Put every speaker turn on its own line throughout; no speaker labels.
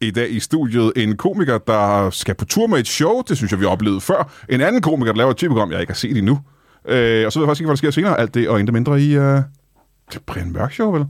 i dag i studiet en komiker, der skal på tur med et show. Det synes jeg, vi oplevede før. En anden komiker, der laver et tv-program, jeg ikke har set endnu. Øh, og så ved jeg faktisk ikke, hvad der sker senere. Alt det og intet mindre i... Øh, det er Brian Mørk Show, vel?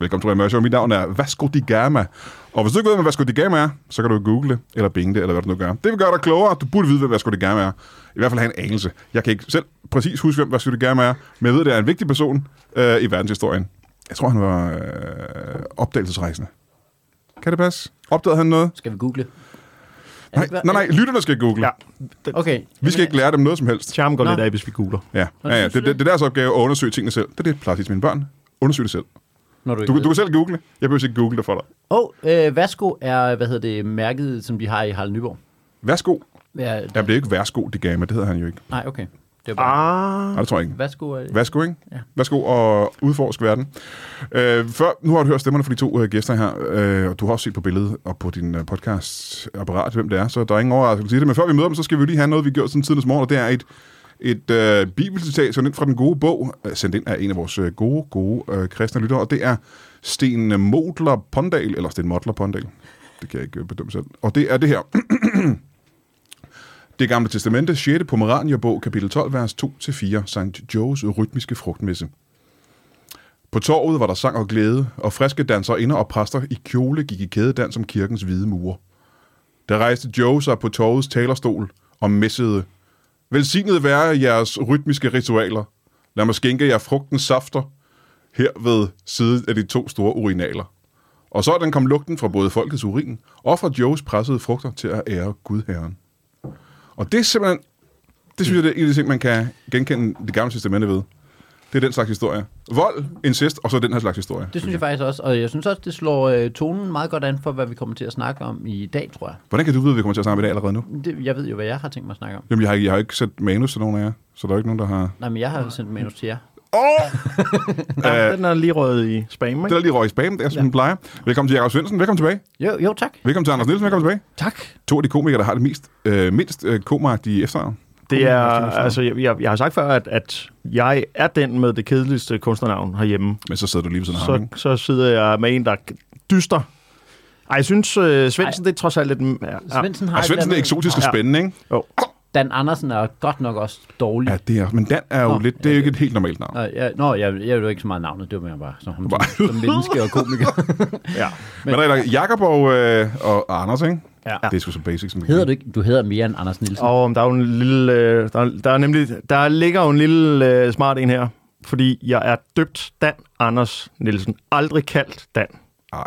Velkommen til Brian Mørk Show. Mit navn er Vasco Di Gama. Og hvis du ikke ved, hvad Vasco Di Gama er, så kan du google det, eller binge det, eller hvad du nu gør. Det vil gøre dig klogere. Du burde vide, hvad Vasco Di Gama er. I hvert fald have en anelse. Jeg kan ikke selv præcis huske, hvem Vasco Di Gama er, men jeg ved, det er en vigtig person øh, i verdenshistorien. Jeg tror, han var øh, opdagelsesrejsende. Kan det passe? Opdagede han noget?
Skal vi google? Er
Nej,
det-
nej, nej lytterne skal google.
Ja.
Ja.
Okay.
Vi skal ikke lære dem noget som helst.
Charm går
Nå.
lidt af, hvis vi googler.
Ja, ja, ja.
synes
Det,
du
det, det er deres opgave at undersøge tingene selv. Det er det, jeg plejer at sige til mine børn. Undersøg det selv.
Når du, ikke
Du,
ved
du kan
det.
selv google. det. Jeg behøver ikke google det for dig.
Åh, oh, øh, Vasco er, hvad hedder det, mærket, som vi har i Harald Nyborg.
Værsgo.
Ja,
Ja, det er ikke værsgo, det gav mig. Det hedder han jo ikke.
Nej, okay. Det er bare...
Ah.
Nej, det tror jeg ikke.
Vasco er...
Værsgo, ikke?
Ja.
Værsgo og udforsk verden. Øh, før, nu har du hørt stemmerne fra de to øh, gæster her, øh, og du har også set på billedet og på din øh, podcastapparat, hvem det er, så der er ingen overraskelse i det. Men før vi møder dem, så skal vi jo lige have noget, vi har gjort siden tidens morgen, og det er et, et øh, bibelcitat, sendt ind fra den gode bog, øh, sendt ind af en af vores øh, gode, gode øh, kristne lyttere, og det er Sten Modler Pondal, eller Sten Modler Pondal, det kan jeg ikke øh, bedømme selv, og det er det her. Det gamle testamente, 6. Pomeranjerbog, kapitel 12, vers 2-4, St. Joes rytmiske frugtmesse. På torvet var der sang og glæde, og friske danserinder og præster i kjole gik i kædedans om kirkens hvide mure. Der rejste Joe sig på torvets talerstol og messede. Velsignet være jeres rytmiske ritualer. Lad mig skænke jer frugtens safter her ved siden af de to store urinaler. Og sådan kom lugten fra både folkets urin og fra Joes pressede frugter til at ære Gudherren. Og det er simpelthen, det synes jeg, det er en af de ting, man kan genkende det gamle testamente ved. Det er den slags historie. Vold, incest, og så den her slags historie.
Det synes jeg faktisk også, og jeg synes også, det slår øh, tonen meget godt an for, hvad vi kommer til at snakke om i dag, tror jeg.
Hvordan kan du vide, at vi kommer til at snakke om i dag allerede nu?
Det, jeg ved jo, hvad jeg har tænkt mig at snakke om.
Jamen, jeg har, ikke- jeg har ikke sendt manus til nogen af jer, så der er ikke nogen, der har...
Nej, men jeg har sendt manus til jer.
Ja, den er lige røget i spam,
Øh, Det
ikke?
er lige røg i spam, det er som den plejer. Velkommen til Jakob Svendsen, velkommen tilbage.
Jo, jo, tak.
Velkommen til Anders Nielsen, velkommen tilbage.
Tak.
To af de komikere, der har det mest, øh, mindst øh, komeragtige efternavn.
Det er, altså, jeg, jeg, jeg har sagt før, at, at jeg er den med det kedeligste kunstnernavn herhjemme.
Men så sidder du lige ved sådan ham,
Så,
ikke?
så sidder jeg med en, der dyster. Ej, jeg synes, uh, Svendsen, det er trods alt lidt... Ja, ja.
Svendsen har
Og
et
Svendsen er
eller andet-
eksotisk og
Ja.
spændende, ikke?
Dan Andersen er godt nok også dårlig.
Ja, det er. Men Dan er jo
Nå,
lidt... Det er jo ikke et helt normalt navn.
Nå, jeg, nå jeg, jeg ved jo ikke så meget navnet, det var mere bare som, ham,
Bare-
som, som menneske og komiker.
ja.
Men, der er Jakob og, øh, og Anders, ikke?
Ja.
Det er sgu så basic, som det
hedder
kan.
du ikke? Du hedder mere end Anders Nielsen.
Og der er jo en lille... øh, Der, der, er nemlig, der ligger jo en lille øh, smart en her, fordi jeg er døbt Dan Anders Nielsen. Aldrig kaldt Dan.
Ej.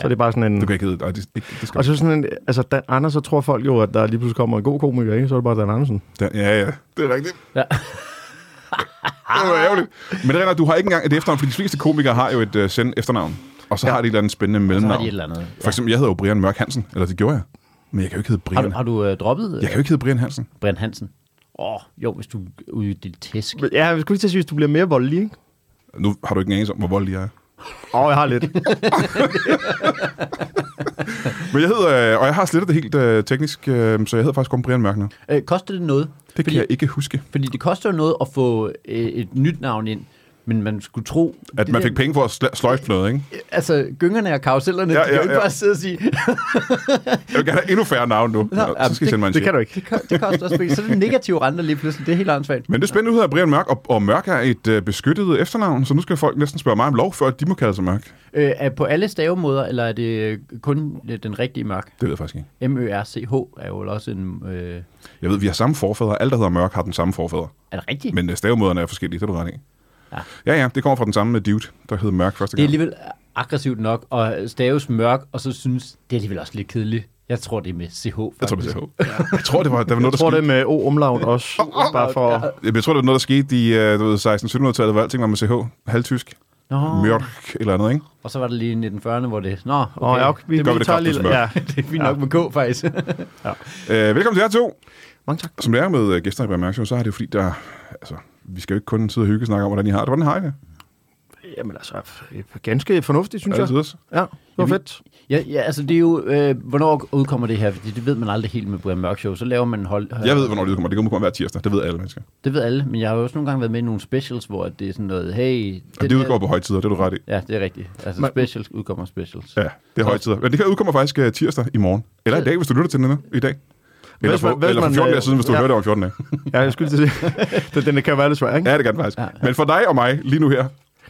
Så det er bare sådan en...
Du kan ikke hedde... Nej, det, ikke- det skal
Og så sådan en, altså Dan Anders, så tror folk jo, at der lige pludselig kommer en god komiker, ikke? Så er det bare Dan Andersen.
Dan, ja, ja, det er rigtigt.
Ja.
det var ærgerligt. Men det er, du har ikke engang et efternavn, fordi de fleste komikere har jo et uh, send efternavn. Og så ja. har de et eller andet spændende
så har de
mellemnavn.
et eller andet.
For eksempel, jeg hedder jo Brian Mørk Hansen, eller det gjorde jeg. Men jeg kan jo ikke hedde
Har
Brian.
du, har du øh, droppet øh,
Jeg kan jo ikke hedde Brian Hansen.
Brian Hansen? Åh, oh, jo, hvis du er ude i dit tæsk.
Men Ja, jeg skulle lige til at sige, at du bliver mere voldelig, ikke?
Nu har du ikke en anelse om, hvor voldelig jeg er.
Åh, oh, jeg har lidt.
Men jeg hedder, øh, og jeg har slettet det helt øh, teknisk, øh, så jeg hedder faktisk kun Brian Mørk nu. Det
Øh, koster det noget?
Fordi... kan
fordi,
jeg ikke huske.
fordi det koster jo noget at få øh, et nyt navn ind, men man skulle tro...
At
det
man
der-
fik penge for at sl- sløjfe noget, ikke?
Altså, gyngerne og karusellerne,
Ja,
ja, de
ja,
kan jo ikke
ja.
bare sidde og sige,
Jeg vil gerne have endnu færre navn nu. Nå, så
jamen,
skal I sende mig en
det
check.
kan du ikke.
det, ko- det koster også penge. Så er det negative renter lige pludselig, det er helt åndssvagt.
Men det er spændende ud af Brian Mørk, og, og Mørk er et øh, beskyttet efternavn, så nu skal folk næsten spørge mig om lov, før de må kalde sig Mørk. Det
Øh, er på alle stavemåder, eller er det øh, kun øh, den rigtige mørk?
ved jeg faktisk ikke.
M-Ø-R-C-H er jo også en... Øh,
Jeg ved, vi har samme forfædre. Alt, der hedder Mørk, har den samme forfædre.
er det rigtigt?
Men øh, stavemåderne er forskellige, det er du ret i.
Ja.
ja, ja, det kommer fra den samme øh, dude, der hed Mørk første
Det er
gang.
alligevel aggressivt nok, og staves mørk, og så synes, det er alligevel også lidt kedeligt. Jeg tror, det er med CH.
Jeg tror,
faktisk.
det var CH. Jeg tror, det var, der var noget, der
Jeg tror, det er
skete.
med O omlaut også. Bare for...
Jamen, Jeg tror, det var noget, der skete i øh, du ved, 16-1700-tallet, hvor alting var med CH. Halvtysk.
Nå,
Mørk eller andet, ikke?
og så var det lige i 1940'erne, hvor det... Nå, okay.
Åh, ja, okay.
Det gør vi det
tager
godt, du smører.
Ja.
Det er fint nok med K, faktisk.
Øh, velkommen til jer to.
Mange tak.
Som det er med øh, gæster i Brian Mørk Show, så er det jo fordi, der... Altså, vi skal jo ikke kun sidde og hygge og snakke om, hvordan I har det. Hvordan har I det?
Jamen altså, ganske fornuftigt, synes jeg.
Altid også.
Ja, det var
Jamen,
fedt.
Ja, ja, altså det er jo, øh, hvornår udkommer det her? Fordi det ved man aldrig helt med Brian Mørk Show. Så laver man hold...
Jeg ved, hvornår det kommer. Det kommer hver tirsdag. Det ved alle mennesker.
Det ved alle, men jeg har jo også nogle gange været med i nogle specials, hvor det er sådan noget, hey... Det,
Det, det udgår på højtider, det er du ret i.
Ja, det er rigtigt. Altså
Men-
specials udkommer specials.
Ja, det er højtider. Men det her udkommer faktisk øh, tirsdag i morgen. Eller i dag, hvis du lytter til den endnu. I dag. Eller
Hvis man-
for,
hvis
eller for
man,
14
øh,
dage siden, hvis du
ja.
hører det om 14 dage.
Ja, jeg skulle til at sige. Den- Den kan være lidt svær, ikke?
Ja, det kan det faktisk. Men for dig og mig, lige nu her,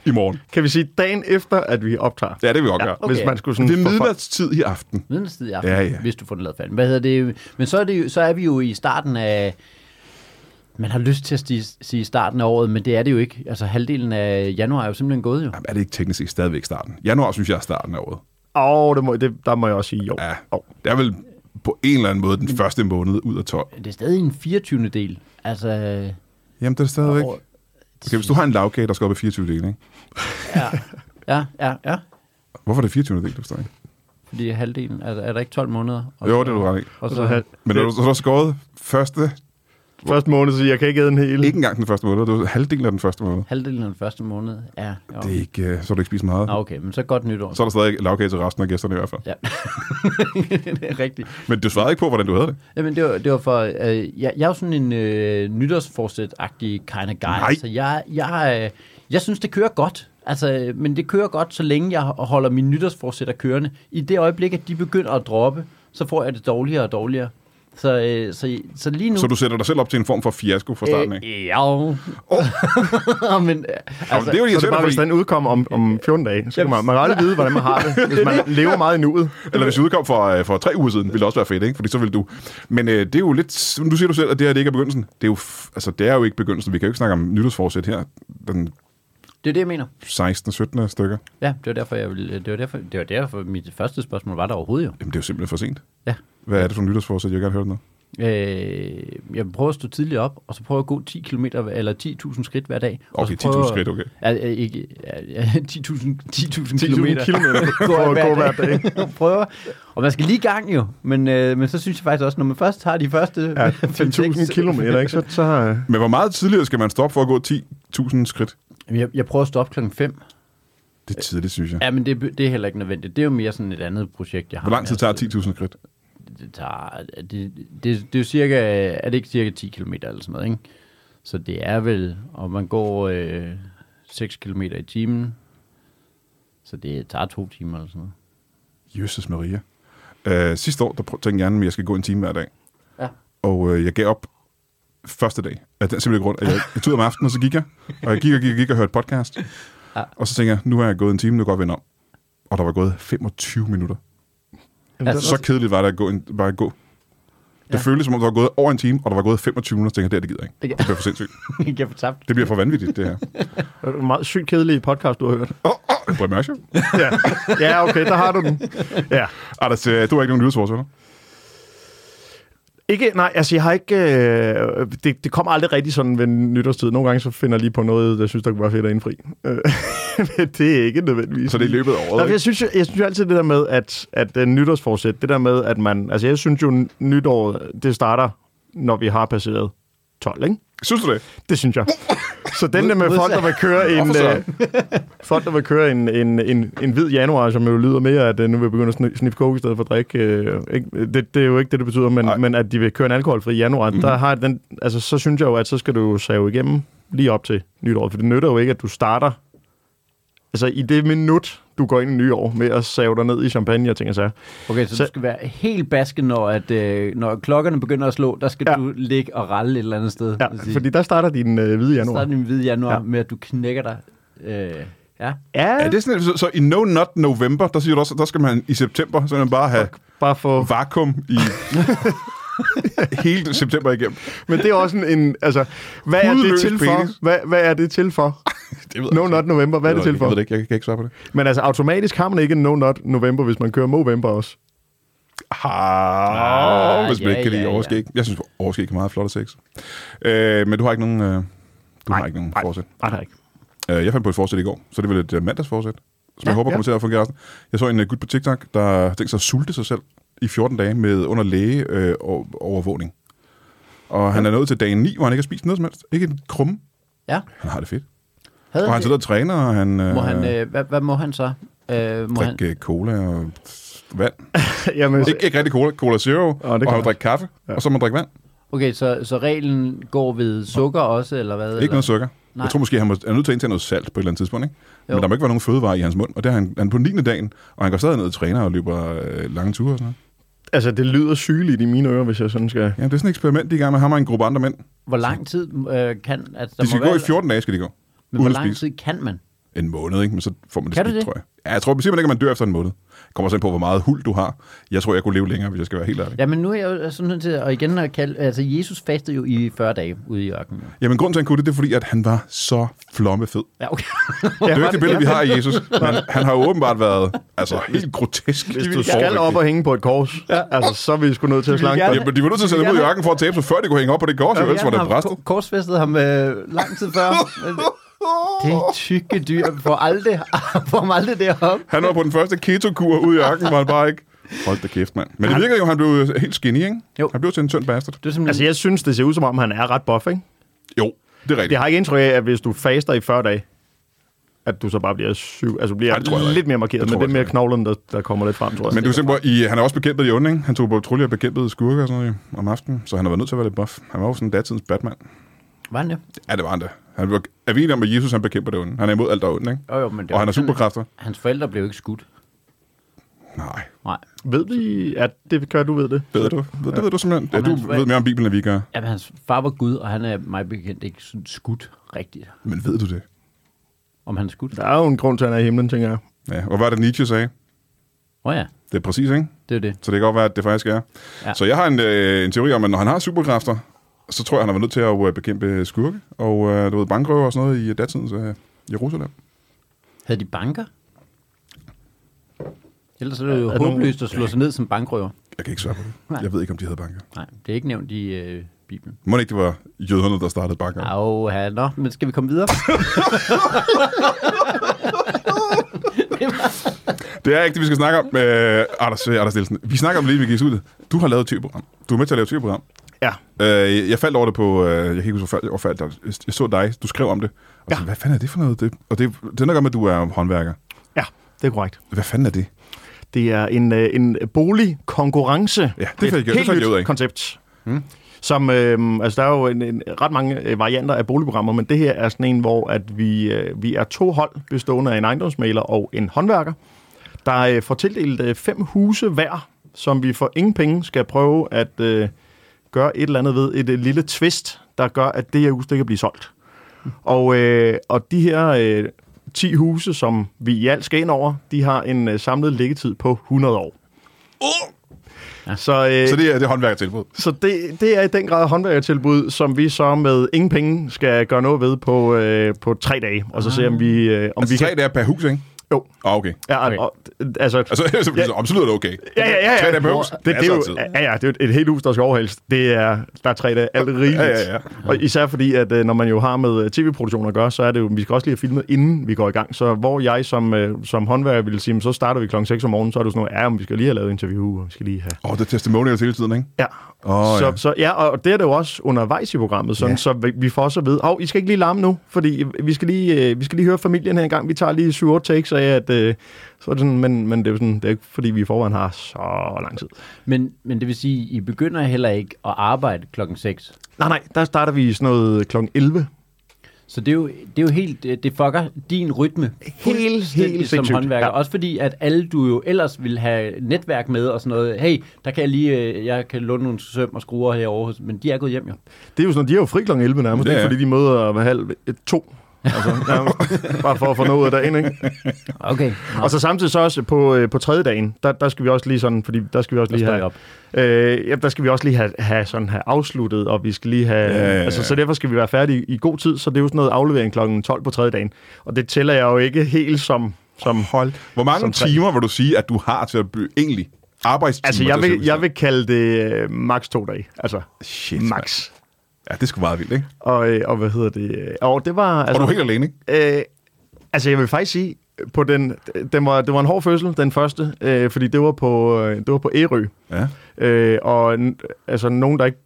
i morgen.
Kan vi sige dagen efter, at vi optager?
Ja, det vil vi godt gøre.
Okay. Hvis
Okay.
man skulle sådan...
Det er
få folk-
midnatstid i aften.
Midnatstid i aften,
Ja, ja.
hvis du får den lavet fanden. Hvad hedder det? Men så er, det jo, så er vi jo i starten af... Man har lyst til at sti- sige starten af året, men det er det jo ikke. Altså halvdelen af januar er jo simpelthen gået jo.
Jamen, er det ikke teknisk set stadigvæk starten? Januar synes jeg er starten af året.
Åh, oh, det må, det, der må jeg også sige jo.
Ja,
Oh.
det er vel på en eller anden måde den første måned ud af 12.
Det er stadig en 24. del. Altså...
Jamen, det er stadigvæk. Okay, hvis du har en lavkage, der skal op i 24 del, ikke?
Ja, ja, ja. ja.
Hvorfor er det 24 del, du forstår jeg ikke?
Fordi halvdelen, altså er der ikke 12 måneder? Og
Jo,
så-
det er du ret i.
Og
Så,
så,
halv-
Men når du så har skåret første,
Første måned, så jeg kan ikke æde en hel.
ikke engang den første måned, det er halvdelen af den første måned.
halvdelen af den første måned er... Jo.
Det er ikke, øh, så har du ikke spist meget.
Nå, okay, men så godt nytår.
Så er der stadig lavkage til resten af gæsterne i hvert fald.
Ja. det er rigtigt.
Men du svarede ikke på, hvordan du havde det.
Jamen, det var, det var for... Øh, jeg, jeg er jo sådan en øh, nytårsforsæt-agtig kind of guy.
Nej.
Så jeg, jeg, øh, jeg synes, det kører godt. Altså, øh, men det kører godt, så længe jeg holder mine nytårsforsætter kørende. I det øjeblik, at de begynder at droppe, så får jeg det dårligere og dårligere. Så, øh, så, så lige nu...
Så du sætter dig selv op til en form for fiasko fra starten af.
Øh, ja. Oh. men, øh,
Jamen, det
altså,
er jo
Så det er
irriterende,
bare, hvis
fordi,
den udkommer om, om 14 dage, så kan man, man kan aldrig vide, hvordan man har det, hvis man lever meget i nuet.
eller hvis du udkom for, øh, for tre uger siden, ville det også være fedt, ikke? Fordi så ville du... Men øh, det er jo lidt... Nu siger du selv, at det her det ikke er begyndelsen. Det er jo, f- altså, det er jo ikke begyndelsen. Vi kan jo ikke snakke om nytårsforsæt her. Den
det er det, jeg mener.
16. 17. stykker.
Ja, det var derfor, jeg ville, øh, det var derfor, det var derfor mit første spørgsmål var der overhovedet jo.
Jamen, det er jo simpelthen for sent.
Ja.
Hvad er det for en nytårsforsæt? Jeg vil gerne høre det noget.
Øh, jeg prøver at stå tidligt op, og så prøver jeg at gå 10 km eller 10.000 skridt hver dag. og
Okay,
så prøver-
10.000 skridt, okay.
Ja, ja, ikke, ja, ja, 10.000 10.000
10.000
kilometer. Går
kilometer for at
jeg
gå hver dag.
prøver. Og man skal lige i gang jo, men, øh, men så synes jeg faktisk også, når man først har de første
Ja,
5-6
10.000 kilometer, ikke? Så, så øh,
Men hvor meget tidligere skal man stoppe for at gå 10.000 skridt?
Jamen, Jeg, jeg prøver at stå op klokken 5.
Det er tidligt, synes jeg.
Øh, Ja, men det, det er heller ikke nødvendigt. Det er jo mere sådan et andet projekt, jeg har.
Hvor lang tid
Altså,
tager 10.000 skridt?
det tager, det, det, det er jo cirka, er det ikke cirka 10 km eller sådan noget, ikke? Så det er vel, og man går øh, 6 km i timen, så det tager to timer eller sådan noget.
Jesus Maria. Øh, sidste år, der prøv- tænkte jeg, at jeg skal gå en time hver dag.
Ja.
Og øh, jeg gav op første dag. Af den simpelthen grund, at jeg, jeg tog ud om aftenen, og så gik jeg. Og jeg gik og gik og gik og hørte podcast.
Ja.
Og så tænkte jeg, nu er jeg gået en time, nu går jeg vende om. Og der var gået 25 minutter.
Altså,
Så kedeligt var det at gå. En, bare at gå. Det
Ja.
føltes, som om der var gået over en time, og der var gået 25 minutter, så tænkte jeg, det her, det gider jeg
Det
ikke.
kan-
Det bliver for sindssygt.
jeg får tabt.
Det bliver for vanvittigt, det her.
det er en meget sygt kedelig podcast, du har hørt.
Åh, oh, oh, Brian Mørk Show.
Ja, ja okay, der har du den. Ja.
Anders, øh, du har ikke nogen nyhedsforsøger.
Ikke, nej, altså jeg har ikke... Øh, det, det kommer aldrig rigtig sådan ved nytårstid. Nogle gange så finder jeg lige på noget, jeg synes, der kunne være fedt at indfri. Øh, Men det er ikke nødvendigvis.
Så det er i løbet af
Nej,
året.
for
ikke?
jeg, synes, jo- jeg synes jo altid det der med, at, at uh, nytårsforsæt, det der med, at man... Altså jeg synes jo, nytåret, det starter, når vi har passeret 12, ikke?
Synes du det?
Det synes jeg. Så den der med
modsat.
folk, der vil køre en,
Hvorfor
øh, folk, der vil køre en, en, en, en hvid januar, som jo lyder mere, at øh, nu vil jeg begynde at sni- snippe coke i stedet for at drikke. Øh, ikke? Det, det, er jo ikke det, det betyder, men,
Nej. Mhm.
men at de vil køre en alkoholfri januar, mm. der har den, altså, så synes jeg jo, at så skal du jo save igennem lige op til nytår, for det nytter jo ikke, at du starter altså i det minut, du går ind i nytår med at save dig ned i champagne og ting og sager.
Okay, så,
Så-
du skal være helt basket, når, at, øh, når klokkerne begynder at slå, der skal
Ja.
ja. du ligge og ralle et eller andet sted. Altså,
Ja, fordi der starter din øh, hvide
januar. Så
januar.
er det en hvid januar
Ja.
ja. med, at du knækker dig. Øh, ja.
Ja,
Er det sådan, så, så i No Not November, der siger du også, at der skal man i september så man bare have
bare for
vakuum i hele september igennem.
Men det er også en, en altså, hvad er det
Hudløs
til
penis.
for? Hvad, hvad er det til for?
Det ved
No Not November, hvad er det til
Jeg ved
for?
det ikke, jeg kan ikke svare på det.
Men altså, automatisk har man ikke en No Not November, hvis man kører Movember også.
Ha,
Ah,
hvis man
ja,
ikke kan lide
ja, ja.
overskæg. Jeg synes, overskæg er meget flot og sex. Øh, men du har ikke nogen, øh, du har ikke nogen
nej.
forsæt.
Nej, nej.
Øh, jeg fandt på et forsæt i går, så det var lidt øh, mandagsforsæt, som ja, jeg
Ja,
håber
ja.
kommer til at fungere resten. Jeg så en øh, gut på TikTok, der tænkte sig at sulte sig selv i 14 dage med under læge øh, og- overvågning. Og han er nået til dagen 9, hvor han ikke har spist noget som helst. Ikke en krumme.
ja.
Han har det fedt.
Havde
Og han sidder og træner, og han,
Må han, øh, hvad, hvad må han så? Øh, må han,
drikker cola og vand.
Jamen,
Ikke, ikke rigtig cola, cola zero, oh, og
kan
han vil
man.
drikke kaffe, ja. og så må han drikke vand.
okay, så, så reglen går ved sukker også, eller hvad?
Ikke
eller?
noget sukker. Nej.
Nej.
Jeg tror måske, han må, han er nødt til at indtage noget salt på et eller andet tidspunkt. Ikke? Men
Jo.
der må ikke være nogen fødevarer i hans mund. Og det er han, han er på 9. dagen, og han går stadig ned og træner og løber øh, lange ture og sådan noget.
altså, det lyder sygeligt i mine ører, hvis jeg sådan skal...
Ja, det er sådan et eksperiment, de er i gang med ham og en gruppe andre mænd.
Hvor lang tid øh, kan... Altså, der
De skal gå
må være,
i 14 dage, skal de gå.
Men hvor
uden at
lang
spise.
tid kan man?
En måned, ikke? Men så får man det
Kan du
skidt,
det?
tror jeg. Ja, jeg tror simpelthen ikke, at man dør efter en måned. Det kommer sådan på, hvor meget hul du har. Jeg tror, jeg kunne leve længere, hvis jeg skal være helt ærlig.
Jamen nu er jeg jo sådan nødt til at og igen at kalde... Altså Jesus fastede jo i 40 dage ude i ørkenen.
Jamen, grunden til, at han kunne det, det er fordi, at han var så flommefed.
Ja, okay.
Det er jo ikke det billede, vi har af Jesus. Men han har jo åbenbart været altså, helt grotesk.
Hvis du skal op og hænge på et kors, ja. altså, så er vi sgu nødt til
Vi
at
vil
slanke
gerne-
dig.
Jamen, de var nødt til at sætte ham ud i ørkenen for at tabe sig, før de kunne hænge op på det kors, jo, ellers var det
har
bræstet.
ko- korsfæstet ham øh, lang tid før. Men det- Det er tykke dyr. Får aldrig, får ham aldrig derop.
Han var på den første keto-kur ude i ørkenen, hvor han bare ikke... Hold da kæft, mand. Men det virkede jo, han blev helt skinny, ikke?
Jo.
Han blev til en tynd bastard.
Det er simpelthen...
Altså, jeg synes, det ser ud som om, han er ret buff, ikke?
Jo, det er rigtigt.
Jeg har ikke indtryk af, at hvis du faster i 40 dage, at du så bare bliver syg, altså bliver
Nej, det tror jeg
Ej,
ikke.
lidt mere
Det
markeret, men
tror
det er
jeg
mere
ikke.
knoglen, der, der kommer lidt frem, tror jeg.
Men du simpelthen, i, han er også bekæmpet de onde, ikke? Han tog på patrulje og bekæmpede skurke og sådan noget jo, om aftenen, så han har været nødt til at være lidt buff. Han var jo sådan datidens Batman.
Var han det?
Ja, det var han da. Han var, er vi enige om, at Jesus han bekæmper det onde? Han er imod alt der er ondt, ikke?
Jo, jo, men det
Og han
var
har
sådan-
superkræfter?
Hans forældre blev ikke skudt.
Nej.
Nej.
Ved vi, at det gør du ved det?
Ved du? Ved, det ved du simpelthen. Ja,
Om
du
hans
ved mere om Bibelen, end vi gør.
Jamen, hans far var Gud, og han er mig bekendt ikke sådan skudt rigtigt.
Men ved du det?
Om han er skudt.
Der er jo en grund til, at han er i himlen, tænker jeg.
Ja, og hvad er det Nietzsche sagde?
Åh oh, ja,
Det er præcis, ikke?
det er det.
Så det kan godt være, at det faktisk er. Ja.
Ja.
Så jeg har en, øh, en teori om, at når han har superkræfter, så tror jeg, han har været nødt til at øh, bekæmpe skurke og øh, du ved, bankrøver og sådan noget i øh, datidens øh, Jerusalem.
Havde de banker? Ellers er det jo
Er der
håbløst at slå sig ned som bankrøver.
Jeg kan ikke svare på det.
Nej.
Jeg ved ikke, om de havde banker.
Nej, det er ikke nævnt i øh, Bibelen.
Må det ikke, det var jøderne, der startede banker? Ja.
Au, ja, nå, men skal vi komme videre?
Det er ikke det, vi skal snakke om. Øh, Anders, øh, Anders Nielsen, vi snakker om det lige, vi gik ud. Du har lavet et tv-program. Du er med til at lave et tv-program.
Ja.
Øh, jeg faldt over det på, øh, jeg kan ikke huske, hvor faldt jeg, jeg så dig, du skrev om det. Og ja. så,
Ja.
hvad fanden er det for noget? Det, og det, det er noget at med, at du er håndværker.
Ja, det er korrekt.
Hvad fanden er det?
Det er en, øh, en boligkonkurrence.
det
er et
fik jeg- det
helt
fandt jeg
nyt
ud af.
koncept. Som, øh, altså, der er jo en, en, ret mange øh, varianter af boligprogrammer, men det her er sådan en, hvor at vi, øh, vi er to hold bestående af en ejendomsmaler og en håndværker, der øh, får tildelt øh, fem huse hver, som vi for ingen penge skal prøve at øh, gøre et eller andet ved. Et øh, lille twist, der gør, at det her hus det kan blive solgt. Og, øh, og de her øh, 10 huse, som vi i alt skal ind over, de har en øh, samlet liggetid på 100 år. Oh! Så, øh,
Så det er, det er håndværkertilbud.
så det, det er i den grad håndværkertilbud, som vi så med ingen penge skal gøre noget ved på, øh, på tre dage. Og så se, om vi, øh, om
Altså,
vi
vi tre
kan...
kan... dage per hus, ikke?
Jo.
Ah, okay.
Ja,
Okay.
okay. og, altså,
Altså, så, ja.
Ja.
om, så lyder det okay.
ja, ja, ja, ja.
Tre dage per hus.
Det, det, er jo, ja, ja, det er jo et helt hus, der skal overhældes. Det er, der er tre dage, alt er rigeligt.
Ja, ja, ja.
Og især fordi, at øh, når man jo har med øh, tv-produktion at gøre, så er det jo, vi skal også lige have filmet, inden vi går i gang. Så hvor jeg som, øh, som håndværker ville sige, "Men så starter vi klokken 6 om morgenen, så er det jo sådan noget, ja, men vi skal lige have lavet interview, og vi skal lige have...
Åh, oh, det er testimonials hele tiden, ikke?
Ja.
Åh,
så,
ja.
så ja, og det er det jo også undervejs i programmet, sådan,
Ja.
ja. så vi, vi får så at vide, oh, I skal ikke lige larme nu, fordi vi skal lige, øh, vi skal lige høre familien her en gang, vi tager lige 7-8 takes af, at, øh, så er det sådan, men, men det er jo sådan, det er ikke fordi, vi i forvejen har så lang tid.
Men, men det vil sige, I begynder heller ikke at arbejde klokken 6.
Nej, nej, der starter vi sådan noget kl. 11.
Så det er jo, det er jo helt, øh, det fucker din rytme fuldstændig
helt
som
sindssygt.
håndværker.
Ja.
Ja. Også fordi, at alle du jo ellers vil have netværk med og sådan noget. Hey, der kan jeg lige, øh, jeg kan låne nogle søm og skruer herovre, hos- men de er gået hjem jo.
Det er jo sådan, de er jo fri kl. 11 nærmest,
Det
det
er.
er. fordi de møder ved halv et, to. Altså, nærmest, bare for at få noget af dagen, ikke?
Okay. Nå.
Og så samtidig så også på, øh, på tredje dagen, der, der skal vi også lige sådan, fordi der skal vi også
Der
lige
står
have,
jeg op.
Øh, ja, der skal vi også lige have, have, sådan, have afsluttet, og vi skal lige have...
Ja, ja, ja.
Altså, så derfor skal vi være færdige i god tid, så det er jo sådan noget aflevering kl. 12 på tredje dagen. Og det tæller jeg jo ikke helt som... som
Hold. Hvor mange
Som tre.
timer vil du sige, at du har til at blive egentlig arbejdstimer?
altså,
til
jeg
at
vil,
sætte
jeg vil kalde det øh, max to dage. Altså,
Shit, mand.
max.
Ja, det er sgu meget vildt, ikke?
Og, øh, og hvad hedder det? øh, Og det var...
Og
Altså,
du er helt alene, ikke?
Øh, altså, jeg vil faktisk sige, på den, den var, det var en hård fødsel, den første, øh, fordi det var på, øh, det var på Ærø.
Ja.
Øh, og n- altså, nogen, der ikke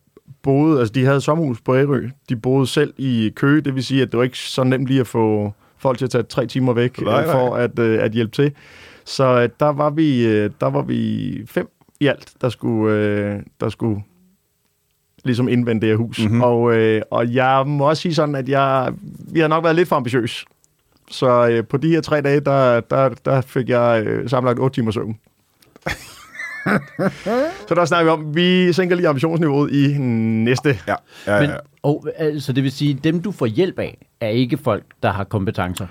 boede, altså de havde sommerhus på Ærø, de boede selv i Køge, det vil sige, at det var ikke så nemt lige at få, folk til at tage tre timer væk
Nej, nej.
nej, nej. for at, øh, at hjælpe til. Så øh, der var vi øh, der var vi fem i alt, der skulle, øh, der skulle ligesom indvende det her hus.
Mhm.
Mm-hmm. Og, øh, og jeg må også sige sådan, at jeg, vi har nok været lidt for ambitiøs. Så øh, på de her tre dage, der, der, der fik jeg øh, sammenlagt 8 timer søvn. så der snakker vi om, vi sænker lige ambitionsniveauet i næste.
Ja, ja,
Men,
ja.
og, altså, det vil sige, dem du får hjælp af, er ikke folk, der har kompetencer.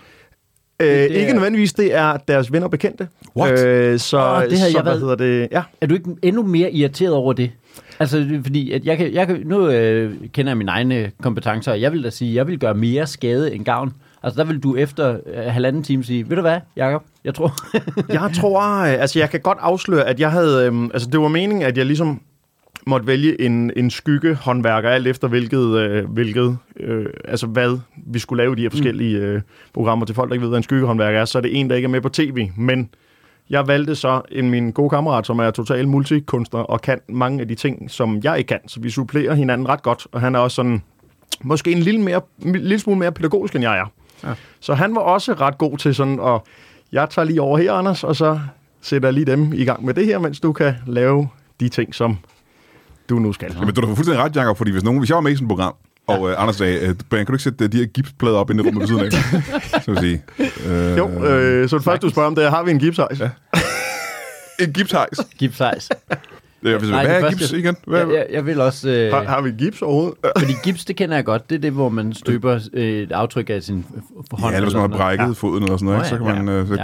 Øh,
det er-
ikke nødvendigvis, det er deres venner og bekendte.
What?
Øh, så,
Åh, det havde
så
jeg
hvad
været-
hedder det? Ja.
Er du ikke endnu mere irriteret over det? Altså, det er fordi at jeg kan, jeg kan, nu øh, kender jeg mine egne kompetencer, og jeg vil da sige, at jeg vil gøre mere skade end gavn. Altså, der vil du efter øh, halvanden time sige, ved du hvad, Jacob, jeg tror...
Jeg tror, øh, altså jeg kan godt afsløre, at jeg havde, øhm, altså det var meningen, at jeg ligesom måtte vælge en, en skygge håndværker, alt efter hvilket, øh, hvilket øh, altså hvad vi skulle lave i de her forskellige øh, programmer til folk, der ikke ved, hvad en skyggehåndværker er, så er det en, der ikke er med på tv, men jeg valgte så en min gode kammerat, som er total multikunstner og kan mange af de ting, som jeg ikke kan, så vi supplerer hinanden ret godt, og han er også sådan, måske en lille, mere, en lille smule mere pædagogisk, end jeg er. Så han var også ret god til sådan at, jeg tager lige over her, Anders, og så sætter jeg lige dem i gang med det her, mens du kan lave de ting, som du nu skal.
Jamen, du har da fuldstændig ret, Jacob, fordi hvis, nogen, hvis jeg var med i sådan et program, og øh, Anders sagde, øh, Brian, kan du ikke sætte øh, de her gipsplader op i det rummet ved siden af? så vil jeg sige, øh,
Jo, øh, så det første, du spørger om, det er, har vi en gipshejs? Ja.
"Øh, en gipshejs.
Giv sejs.
Jeg vil sige,
Nej,
hvad
det
er
første-
gips igen? Hvad,
Jeg, jeg, jeg vil også... Øh,
Har, har vi gips overhovedet?
fordi gips, det kender jeg godt. Det er det, hvor man støber øh, et aftryk af sin f- f- hånd.
ja, eller hvis man har
noget.
brækket ja. foden eller sådan noget,
Nå
ikke, så
ja,
kan man... Øh, så,
Ja.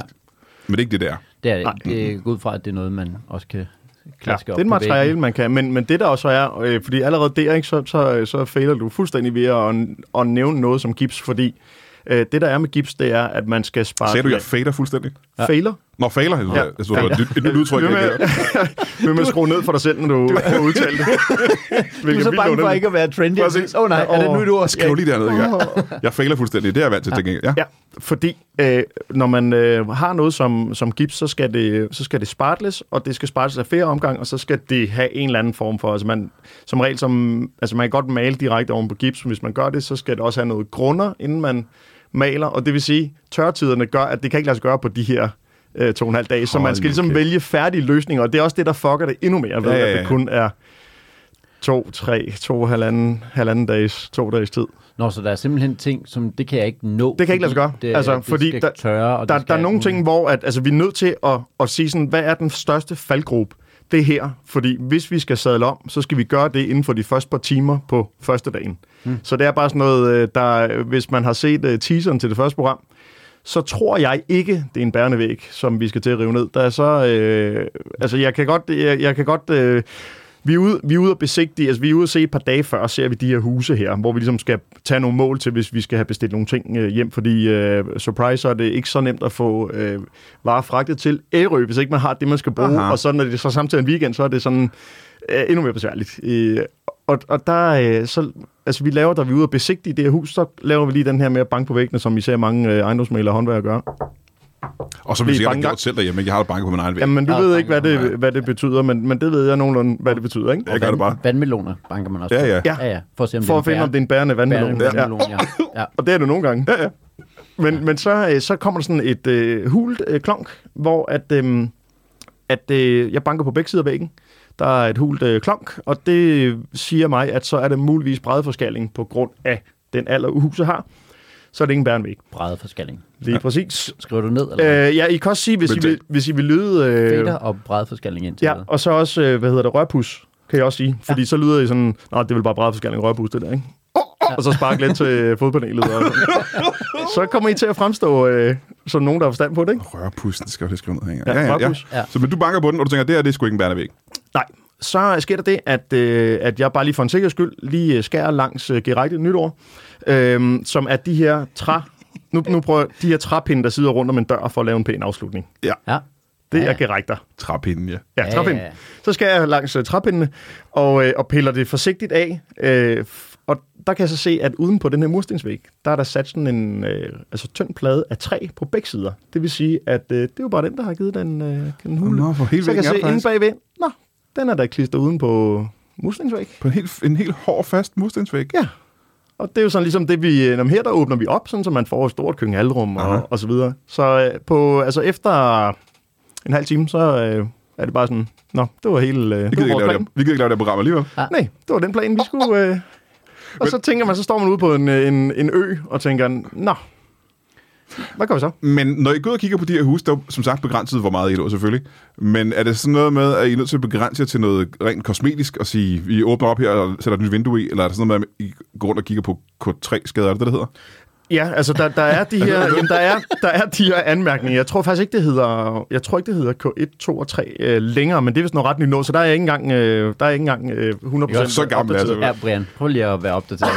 Men det er ikke det der.
Det er
Nej.
det. er ud fra, at det er noget, man også kan
Ja,
klaske
det er
op på
et materiale,
væggen.
man kan. Men, men det der også er, øh, fordi allerede der, ikke, så, så, så fejler du fuldstændig ved at, at nævne noget som gips, fordi øh, det der er med gips, det er, at man skal spare...
Sagde du, jeg fader fuldstændig?
Ja. Fejler?
Nå, fader. Jeg, ja.
Ja.
jeg, jeg, det var et nyt- et nyt udtryk, jeg
Ved med-
ikke havde.
Ved med at skrue ned for dig selv, når du får udtalt det.
Du er så bange for ikke at være trendy.
Prøv at se.
Åh oh, nej, er det nu, du også
Skriv lige dernede, ikke? Jeg fader fuldstændig. Det er jeg vant til, til gengæld. Ja.
Ja, fordi øh, når man øh, har noget som, som gips, så skal, det, så skal det spartles, og det skal spartles af flere omgang, og så skal det have en eller anden form for. Altså man, som regel, som, altså man kan godt male direkte oven på gips, men hvis man gør det, så skal det også have noget grunder, inden man maler. Og det vil sige, tørtiderne gør, at det kan ikke lade sig gøre på de her øh, to og en halv dag. Så
Hold
man skal
nu
ligesom
kæft.
vælge færdige løsninger, og det er også det, der fucker det endnu mere,
Ja,
ved, ja,
ja,
ja, at
ja.
det kun er to, tre, to, halvanden, halvanden dages, to dages tid.
Nå, så der er simpelthen ting, som det kan jeg ikke nå.
Det kan ikke lade sig gøre.
fordi Det,
Altså,
det
fordi
skal
der-
tørre, og
der,
det skal
der er nogle ting, hvor at, altså, vi er nødt til at, at sige, sådan, hvad er den største faldgruppe? Det er her, fordi hvis vi skal sadle om, så skal vi gøre det inden for de første par timer på første dagen. Mm.
Hmm.
Så det er bare sådan noget, øh, der, hvis man har set øh, teaseren til det første program, så tror jeg ikke, det er en bærende væg, som vi skal til at rive ned. Der er så, øh, altså jeg kan godt, jeg, jeg kan godt øh, vi er, ude, vi er ude og besigtige, altså vi er ude og se et par dage før, ser vi de her huse her, hvor vi ligesom skal tage nogle mål til, hvis vi skal have bestilt nogle ting øh, hjem, fordi øh, surprise, så er det ikke så nemt at få øh, varer fragtet til Ærø, hvis ikke man har det, man skal bruge,
Aha.
Aha. og så når det så samtidig er en weekend, så er det sådan øh, endnu mere besværligt. Øh, og, og der øh, så, altså vi laver, da vi er ude og besigtige det her hus, så laver vi lige den her med at banke på væggene, som især mange øh, ejendomsmalere og håndværkere gør.
Og så vil
Blive
jeg sikkert have
banker.
gjort selv derhjemme. ikke? Jeg har da banket på min egen væg.
Jamen, du
Ja,
ved
banker
ikke, hvad
på
det, hvad det betyder, men, men det ved jeg nogenlunde, hvad det betyder, ikke?
Jeg gør det bare.
Vandmeloner banker man også
Ja,
på.
ja.
ja. ja. For at, se, om
For at finde, om det er en bærende vandmelon.
vandmelon.
Ja.
vandmelon ja. ja.
Og det er det nogle gange. Ja, ja. Men, men så, øh, så kommer der sådan et øh, hult øh, klonk, hvor at, øh, at øh, jeg banker på begge sider af væggen. Der er et hult øh, klonk, og det siger mig, at så er det muligvis bredforskaling på grund af den alder, huset har. Så er det ikke en bærende væg.
Brede forskalling.
Lige ja. præcis.
Skriver du ned, eller
Øh, ja, I kan også sige, hvis, I
Men
vil, hvis I vil lyde...
øh,
Øh,
fader og brede forskalling ind til
ja, og så også, øh, hvad hedder det, rørpus, kan jeg også sige. Fordi ja. så lyder I sådan, nej, det er vel bare bredforskaling rørpus, det der, ikke? Ja. Og så sparke lidt til øh, fodpanelet. Og sådan. så kommer I til at fremstå øh, som nogen, der har forstand på det, ikke?
Rørpussen, det skal jeg lige skrive ned her.
Ja, rørpus.
Ja.
Så men du banker på den, og du tænker, det her, det er sgu ikke en bærende væg.
Nej, så sker der det, at, øh, at jeg bare lige for en sikkerheds skyld lige øh, skærer langs øh, Gerigte nytår, øh, som er de her træ... Nu, nu prøver jeg, de her træpinde, der sidder rundt om en dør for at lave en pæn afslutning.
Ja.
Det
Ja,
er
ja.
Gerigter.
Trappinden, ja.
Ja,
Ja,
træpind.
ja, ja.
Så skal jeg langs uh, træpindene og, øh, og piller det forsigtigt af. Øh, f- og der kan jeg så se, at uden på den her murstensvæg, der er der sat sådan en øh, altså tynd plade af træ på begge sider. Det vil sige, at øh, det er jo bare den, der har givet den, øh, den hule.
Nå, for hele
så kan jeg
væggen er
se inde
faktisk-
bagved, nå, den er der klistret uden på murstensvæg.
På en helt, en helt hård, fast murstensvæg.
Ja, Og det er jo sådan ligesom det, vi... Når her, der åbner vi op, sådan, så man får et stort køkkenalrum
Aha.
og, og så videre. Så øh, på, altså efter en halv time, så øh, er det bare sådan... Nå, det var hele... Øh,
Vi
det
gider,
var
ikke lave
vores
det,
plan.
her- vi gider ikke lave det her program alligevel.
Nej, det var den plan, vi skulle... Øh, og så tænker man, så står man ude på en, øh, en, en ø og tænker, nå, hvad gør vi så?
Men når I går ud og kigger på de her huse, der er jo som sagt begrænset, hvor meget I lå selvfølgelig. Men er det sådan noget med, at I er nødt til at begrænse jer til noget rent kosmetisk og sige, vi åbner op her og sætter et nyt vindue i? Eller er det sådan noget med, at I går rundt og kigger på K3-skader, er det det, det hedder?
Ja, altså der, der er de her, jamen, der er, der er de her anmærkninger. Jeg tror faktisk ikke det hedder, jeg tror ikke det hedder K1, 2 og 3 øh, længere, men det er vist noget ret nyt nå, så der er jeg ikke engang, øh, der er jeg ikke engang øh, 100%
Jeg er så gammel,
opdateret.
altså.
Ja, Brian, prøv lige at være opdateret.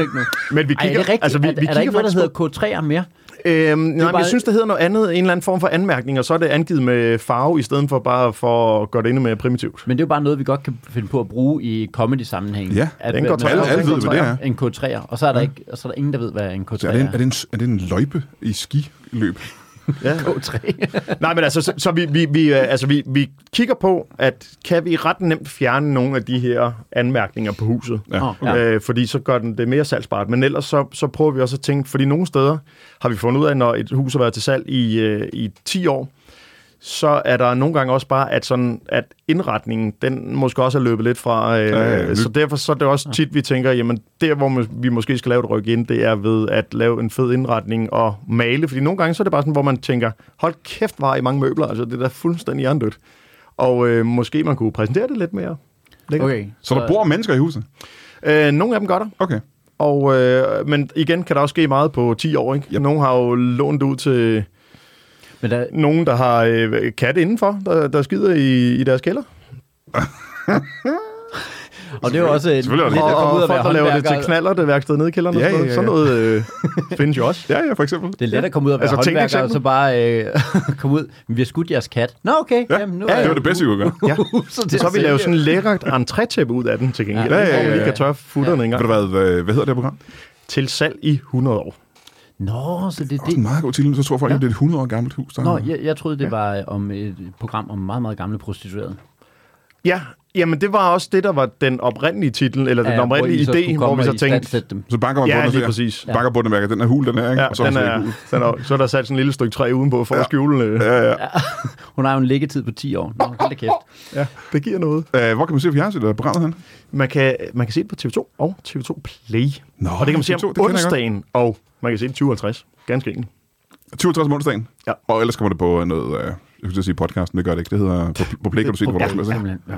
Ikke nu.
Men vi
Ej, er
kigger,
det rigtigt?
altså vi,
er,
vi
er der ikke
kigger
noget, der
faktisk på,
hedder K3'er mere?
øh, nej, men
bare-
jeg synes det hedder noget andet, en eller anden form for anmærkning, og så er det angivet med farve i stedet for bare for at gøre det endnu mere primitivt.
Men det er jo bare noget, vi godt kan finde på at bruge i comedy-sammenhæng.
Ja,
at,
den går
man
tre-
Alle,
laver
alle ved, hvad det er.
En K3'er, og så er, der ikke, og så er der ingen, der ved, hvad en K3'er
Så er, det en, er, det en, er det en løjpe i skiløb?
Ja.
K3.
Nej, men altså, så, så vi, vi, vi, øh, altså vi, vi kigger på, at kan vi ret nemt fjerne nogle af de her anmærkninger på huset?
Ja.
Nå,
Ja. Øh, fordi så gør den det mere salgsbart. Men ellers så, så prøver vi også at tænke, fordi nogle steder har vi fundet ud af, når et hus har været til salg i, øh, i 10 år, så er der nogle gange også bare, at, sådan, at indretningen, den måske også er løbet lidt fra. Øh,
Ja, ja,
ja,
ny-
så derfor så er det også tit, vi tænker, jamen der, hvor må- vi måske skal lave et ryk ind, det er ved at lave en fed indretning og male. Fordi nogle gange så er det bare sådan, hvor man tænker, hold kæft, hvor har I mange møbler. Altså det er da fuldstændig hjernedødt. Og øh, måske man kunne præsentere det lidt mere. lækkert.
Okay,
Så der bor mennesker i huset?
Øh, nogle af dem gør der.
Okay.
Og, øh, men igen kan der også ske meget på 10 år, ikke? Yep. Nogle har jo lånt det ud til
Men der,
nogen, der har øh, katte indenfor, der, der skider i, i deres kælder.
og det er jo også en,
Selvfølgelig er det Jeg
lidt
Og,
at komme ud
og
og
folk,
være
der laver det til
håndværker.
knaller, det værksted nede i kælderen
Ja,
og sådan noget.
ja, ja.
Sådan noget øh, findes jo også.
Ja, ja, for eksempel.
Det er let at komme ud og være
Altså,
altså, håndværker, og så
tænkeeksempel.
bare øh, komme ud. Men vi har skudt jeres kat. Nå, okay.
Ja,
Jamen, nu
ja,
er
det var det bedste, vi kunne gøre.
Ja.
til
Så
at
har vi
sælge.
lavet sådan en lækkert entrétæppe ud af den til gengæld.
Ja,
Ja,
ja,
ja,
ja,
Hvor vi
ja.
lige kan tørre futterne ja.
Ved
engang.
du hvad, øh, hvad, hvad hedder det her program?
Til salg i 100 år.
Nå, så det
Det er
er
en
det.
meget god titel, så tror folk, ja. at det er et 100 år gammelt hus. Der.
Nå, jeg, jeg troede, det var øh, om et program om meget, meget gamle prostituerede.
Ja, jamen det var også det, der var den oprindelige titel, eller den
Ja, I
oprindelige
så kunne
idé, hvor
komme
vi
og
så tænkte,
istandsætte dem.
Så banker man
Ja,
bunden og
lige
siger,
præcis.
Banker bunden mærker, den er hul, den her, ikke?
ja,
og så
den
den
er, den er, så er der sat sådan et lille stykke træ udenpå for ja. at skjule. Øh, ja.
Hun har jo en liggetid på 10 år. Nå, hold da kæft.
ja, det giver noget.
Øh, hvor kan man se fjernsynet eller programmet hen?
Man kan, man kan se det på TV2 og TV2 Play.
Nå,
og det kan man se
TV2, det
om
kender jeg
onsdagen, og man kan se det 2050. Ganske enkelt.
22 om onsdagen.
Ja.
Og ellers kommer det på noget... Øh, jeg skulle til at sige podcasten, det gør det ikke. Det hedder... På, på Play kan du se det, hvor du
Ja,
spiller.
simpelthen. Ja.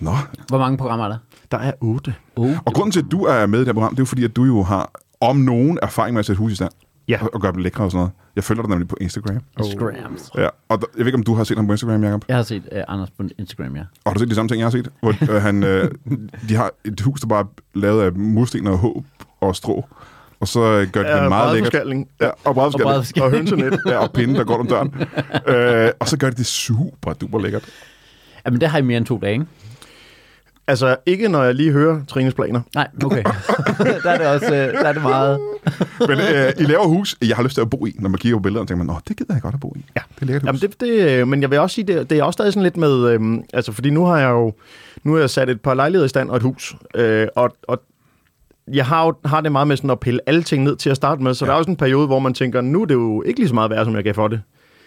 Nå.
Hvor mange programmer er der?
Der er 8.
Oh,
Og grunden til, at du er med i det her program, det er jo fordi, at du jo har om nogen erfaring med at sætte hus i stand.
Ja.
Og, og gøre dem lækre og sådan noget. Jeg følger dig nemlig på Instagram.
Instagrams.
Ja, og der, jeg ved ikke, om du har set ham på Instagram, Jacob.
Jeg har set uh, Anders på Instagram, ja.
Og har du set de samme ting, jeg har set? Hvor øh, han, øh, de har et hus, der bare er lavet af mursten og håb og strå. Og så øh, gør de det meget, meget lækkert.
forskalling.
Ja, og brædderskab.
Og brædderskab.
Og hønsenet.
Ja, og pinde, der går rundt om døren. øh, og så gør de det super duper lækkert.
Jamen, det har I mere end to dage, ikke?
Altså, ikke når jeg lige hører Trines planer.
Nej, okay. der er det også øh, der er det meget...
Men øh, I laver hus, jeg har lyst til at bo i. Når man kigger på billederne, tænker man, åh, det gider jeg godt at bo i. Ja. Det er lækkert
Jamen
hus.
det, det, øh, men jeg vil også sige, det, det er også stadig sådan lidt med, øhm, altså fordi nu har jeg jo, nu har jeg sat et par lejligheder i stand og et hus, øh, og, og jeg har, jo, har det meget med sådan at pille alle ting ned til at starte med, så ja. der er også en periode, hvor man tænker, nu er det jo ikke lige så meget værd, som jeg gav for det.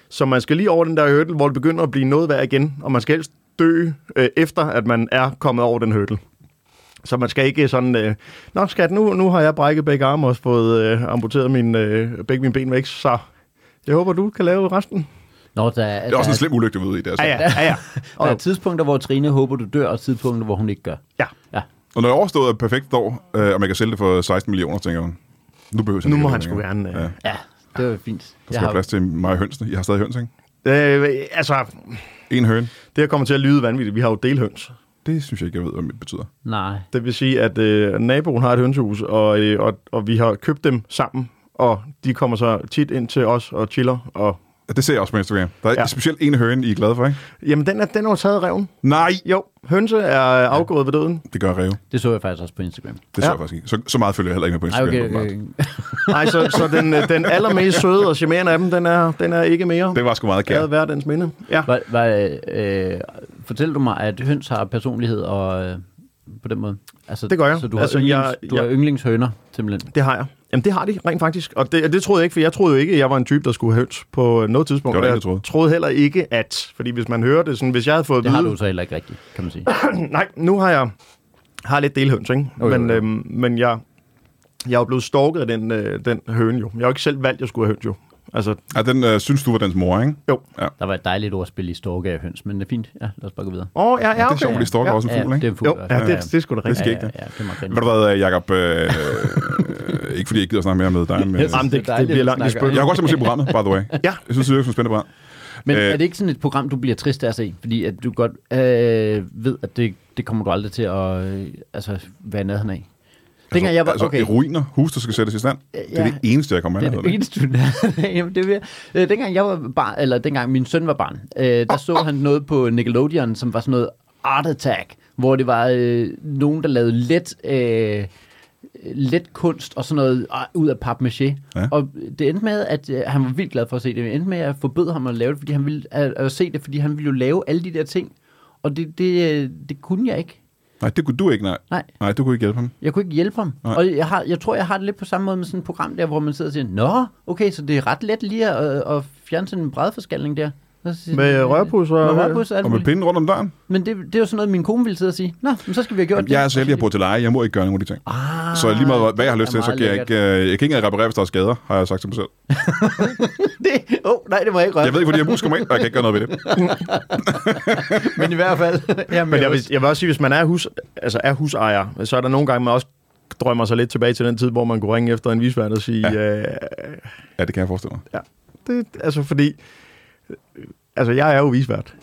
Så man skal lige over den der hurdle, hvor det begynder at blive noget værd igen, og man skal helst dø, øh, efter at man er kommet over den hurdle. Så man skal ikke sådan, øh, nå skat, nu, nu har jeg brækket begge arme og også fået øh, amputeret min, øh, begge mine ben væk, så jeg håber, du kan lave resten.
Nå, der, er,
det er også
der,
en slem ulykke, du ved i det. Altså.
Ja, ja, ja. ja.
der er
Og,
tidspunkter, hvor Trine håber, du dør, og tidspunkter, hvor hun ikke gør.
ja.
Ja.
Og når det er overstået er et perfekt år, øh, og man kan sælge det for 16 millioner, tænker man, nu behøver jeg
Nu
ikke
må
det
han
længere.
sgu gerne, øh,
Ja.
Ja, det var fint.
Der skal være plads til mig og hønsene. Jeg har stadig høns, ikke?
Øh, altså,
En høn.
det her kommer til at lyde vanvittigt. Vi har jo delhøns.
Det synes jeg ikke, jeg ved, hvad det betyder.
Nej.
Det vil sige, at øh, naboen har et hønsehus, og, øh, og, og vi har købt dem sammen. Og de kommer så tit ind til os og chiller. Og...
Det ser jeg også på Instagram. Der er ja.
Ja.
specielt en høne, I er glade for, ikke?
Jamen, den er, den er jo taget af reven.
Nej!
Jo, hønse er afgået ved døden.
Det gør Reve.
Det så jeg faktisk også på Instagram.
Det så
Ja.
jeg faktisk ikke. Så, så meget følger jeg heller ikke med på
Ej,
Instagram.
okay,
åbenbart.
okay.
Nej, så, så den, øh, den allermest søde og charmerende af dem, den er, den er ikke mere.
Det var sgu meget
Ærede
kært.
være dens minde. Ja.
Var, var, øh, fortæl du mig, at høns har personlighed og øh, på den måde? Altså,
Det gør jeg.
Så du har, altså,
Altså,
yndlings,
jeg-
jeg, du har
jeg-
yndlingshønder, simpelthen.
Det har jeg. Jamen, det har de rent faktisk. Og det, det troede jeg ikke, for jeg troede jo ikke, at jeg var en type, der skulle have høns på øh, noget tidspunkt.
Det var der ingen,
Og
der
jeg
troede.
troede heller ikke, at... Fordi hvis man hører det sådan, hvis jeg havde fået
Det
at
har
Mm.
vide...
du så heller ikke rigtigt, kan man sige.
Nej, nu har jeg har lidt delhøns, ikke?
Jo, jo,
men,
jo.
Øhm, men jeg, jeg er jo blevet stalket af den, øh, den høne jo. Jeg har jo ikke selv valgt, at jeg skulle have høns jo. Altså,
Ja, den øh, synes du var dens mor, ikke?
Der var et dejligt ordspil i storke af høns, men det er fint. Ja, lad os bare gå videre.
åh, ja, ja,
Det er
okay.
sjovt, de storker
ja.
ja, også en fugl, ikke?
ja, det er
Det...
en fugl.
Jo, ja, det, det er sgu da rigtigt.
Det skal ikke
ja,
det.
ja, ja, det er meget
Ved du
grinerende.
hvad, øh, Jacob? Øh, øh, ikke fordi jeg ikke gider snakke mere med dig, men...
Yes.
Øh,
Jamen, det,
Det er
det
dejligt,
bliver
at
langt i
snakke
spil.
jeg kunne godt tænke mig at se programmet, by the way.
Ja.
Jeg synes, det er et spændende program.
Men
Øh,
er det ikke sådan et program, du bliver trist af at se? Fordi at du godt øh, ved, at det, det kommer du aldrig til at øh, altså, være i nærheden af. Dengang jeg var,
altså,
okay,
i ruiner, hus, der skal sættes i stand.
Ja.
Det er det eneste, jeg kommer
det
med.
er det eneste, du Jamen, det vil, øh, dengang jeg var barn, eller dengang min søn var barn, øh, der så han noget på Nickelodeon, som var sådan noget Art Attack, hvor det var øh, nogen, der lavede let, øh, let kunst og sådan noget øh, ud af papmaché.
Ja.
Ja. Og det endte med, at øh, han var vildt glad for at se det. Det endte med, at jeg forbød ham at lave det, fordi han ville, at, at se det, fordi han ville jo lave alle de der ting. Og det, det, øh, det kunne jeg ikke.
Nej, det kunne du ikke, nej.
Nej.
Nej, du kunne ikke hjælpe ham.
Jeg kunne ikke hjælpe ham.
Nej.
Nej. Og jeg, har, jeg tror, jeg har det lidt på samme måde med sådan et program der, hvor man sidder og siger, Nå, okay, så det er ret let lige at, øh, at fjerne sådan en bredforskaldning der. Så siger,
Med
øh,
rørpusser og-
Med rørpusser og alt
Og med
muligt.
pinden rundt om døren.
Men det, det er jo sådan noget, min kone ville sidde og sige, Nå, men så skal vi have gjort
Jamen,
det.
jeg er så heldig, at jeg bor til leje. Jeg må ikke gøre nogen af de ting.
ah,
Så lige meget, hvad jeg har lyst
det
til,
er
så
meget
kan jeg
lækkert.
ikke, øh, jeg kan ikke engang reparere, hvis der er skader, har jeg sagt til mig selv.
det, oh, nej, det må jeg ikke røre.
Jeg ved ikke, hvor de her mus kommer ind, og jeg kan ikke gøre noget ved det.
men i hvert fald. ja,
Men jeg vil, jeg vil også sige, hvis man er, hus, altså er husejer, så er der nogle gange, man også drømmer sig lidt tilbage til den tid, hvor man kunne ringe efter en visvært og sige, ja. øh,
Ja, det kan jeg forestille mig.
det, altså fordi, øh, altså jeg er jo visvært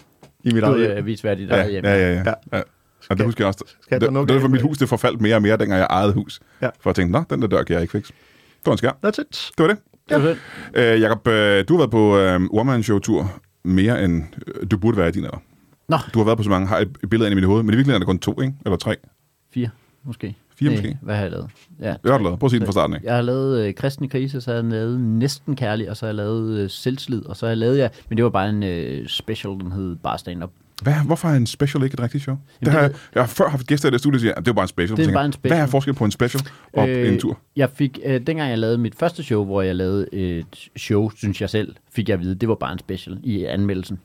i mit
du øh,
eget
er visvært i
Ja,
dig ja, hjemme.
ja, ja. ja.
Ja.
ja. Og det husker jeg også.
jeg
Det,
da nok
det var for
af-
mit hus, det forfaldt mere og mere, dengang jeg ejede hus.
Ja.
For jeg tænkte, nå, den der dør kan jeg ikke fikse. Det var en skærm.
That's it.
Det var det.
Det er jo synd.
Øh, Jakob, øh, du har været på øh, One Man Show Tour mere end øh, du burde være i din alder.
Nå,
Du har været på så mange, har et et billede ind i mit hoved, men i virkeligheden er der kun to, ikke? Eller tre.
fire måske.
Fire
Nej,
måske.
Hvad har jeg lavet? Ja,
Hvad har du lavet? Prøv at sige den fra starten, ikke?
Jeg har lavet øh, Kristen Krise, så har jeg lavet Næsten Kærlig, og så har jeg lavet øh, Selvslid, og så har jeg lavet, ja, men det var bare en øh, special, den hed bare stand-up.
Hvad, hvorfor er en special ikke et rigtigt show? det har
det-
jeg, jeg har før haft gæster i det studie, der siger, at det er jo bare en special.
Det er
Så tænker
bare en
jeg,
special.
Hvad er forskel på en special og en tur?
Øh, Jeg fik, øh, dengang jeg lavede mit første show, hvor jeg lavede et show, synes jeg selv, fik jeg at vide, det var bare en special i anmeldelsen.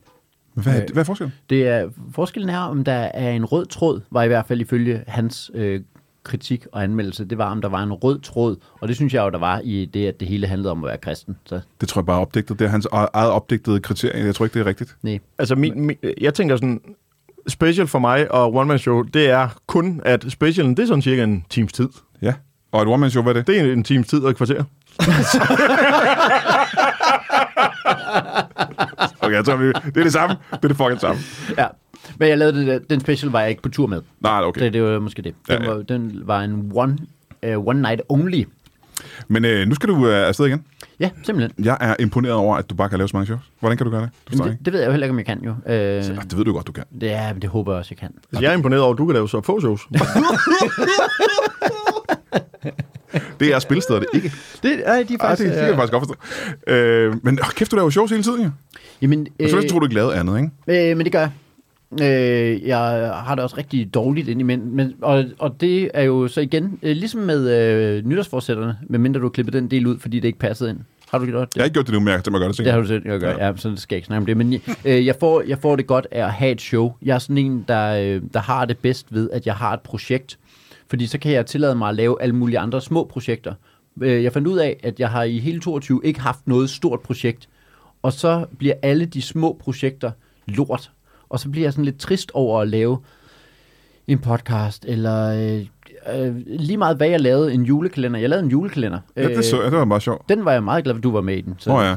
Hvad, øh, hvad er forskellen?
Det er, forskellen er, om der er en rød tråd, var i hvert fald ifølge hans øh, kritik og anmeldelse, det var, om der var en rød tråd, og det synes jeg jo, der var i det, at det hele handlede om at være kristen. Så
Det tror jeg bare er opdigtet. Det er hans eget eget opdigtede kriterie. Jeg tror ikke, det er rigtigt.
nej.
Altså, min, min, jeg tænker sådan, special for mig og One Man Show, det er kun, at specialen, det er sådan cirka en times tid.
Ja. Og et one-man-show, hvad er det?
Det er en, en times tid og et kvarter.
Okay, jeg tror, vi- det er det samme. Det er det fucking samme.
Ja. Men jeg lavede det der, den special var jeg ikke på tur med.
Nej, okay.
Det, det var måske det. Den,
Ja,
ja,
ja.
ja. Var, den var en one, uh, one night only.
Men øh, nu skal du øh, afsted igen.
Ja, simpelthen.
Jeg er imponeret over, at du bare kan lave så mange shows. Hvordan kan du gøre det? Du
Jamen,
det,
det, det ved jeg jo heller ikke, om jeg kan jo. Øh,
det... det ved du godt, du kan.
det, ja, men det håber jeg også, jeg kan.
Altså, jeg er imponeret over, at du kan lave så få shows.
Det er spilsteder, det ikke.
Det, ej, de er
Ej, det, det kan jeg faktisk godt forstå. Øh, men åh, kæft, du laver shows hele tiden, jo.
Jamen,
Jeg
øh,
tror, du ikke lavede andet, ikke?
øh, men det gør jeg. Øh, jeg har det også rigtig dårligt ind i men, og, og det er jo så igen, øh, ligesom med øh, nytårsforsætterne, medmindre du har klippet den del ud, fordi det ikke passede ind. Har du gjort det?
Jeg har ikke gjort det nu, men jeg kan tænke mig at gøre det
Det har
senere.
du selv, jeg gør. Ja, sådan skal jeg ikke snakke om det. Men øh, jeg, får, jeg får det godt af at have et show. Jeg er sådan en, der, øh, der har det bedst ved, at jeg har et projekt. Fordi så kan jeg tillade mig at lave alle mulige andre små projekter. Øh, jeg fandt ud af, at jeg har i hele 22 ikke haft noget stort projekt. Og så bliver alle de små projekter lort. Og så bliver jeg sådan lidt trist over at lave en podcast, eller øh, øh, lige meget hvad jeg lavede, en julekalender. Jeg lavede en julekalender. Øh,
Ja, det, så, jeg. det var meget sjovt.
Den var jeg meget glad for, du var med i den. Så,
Nå ja.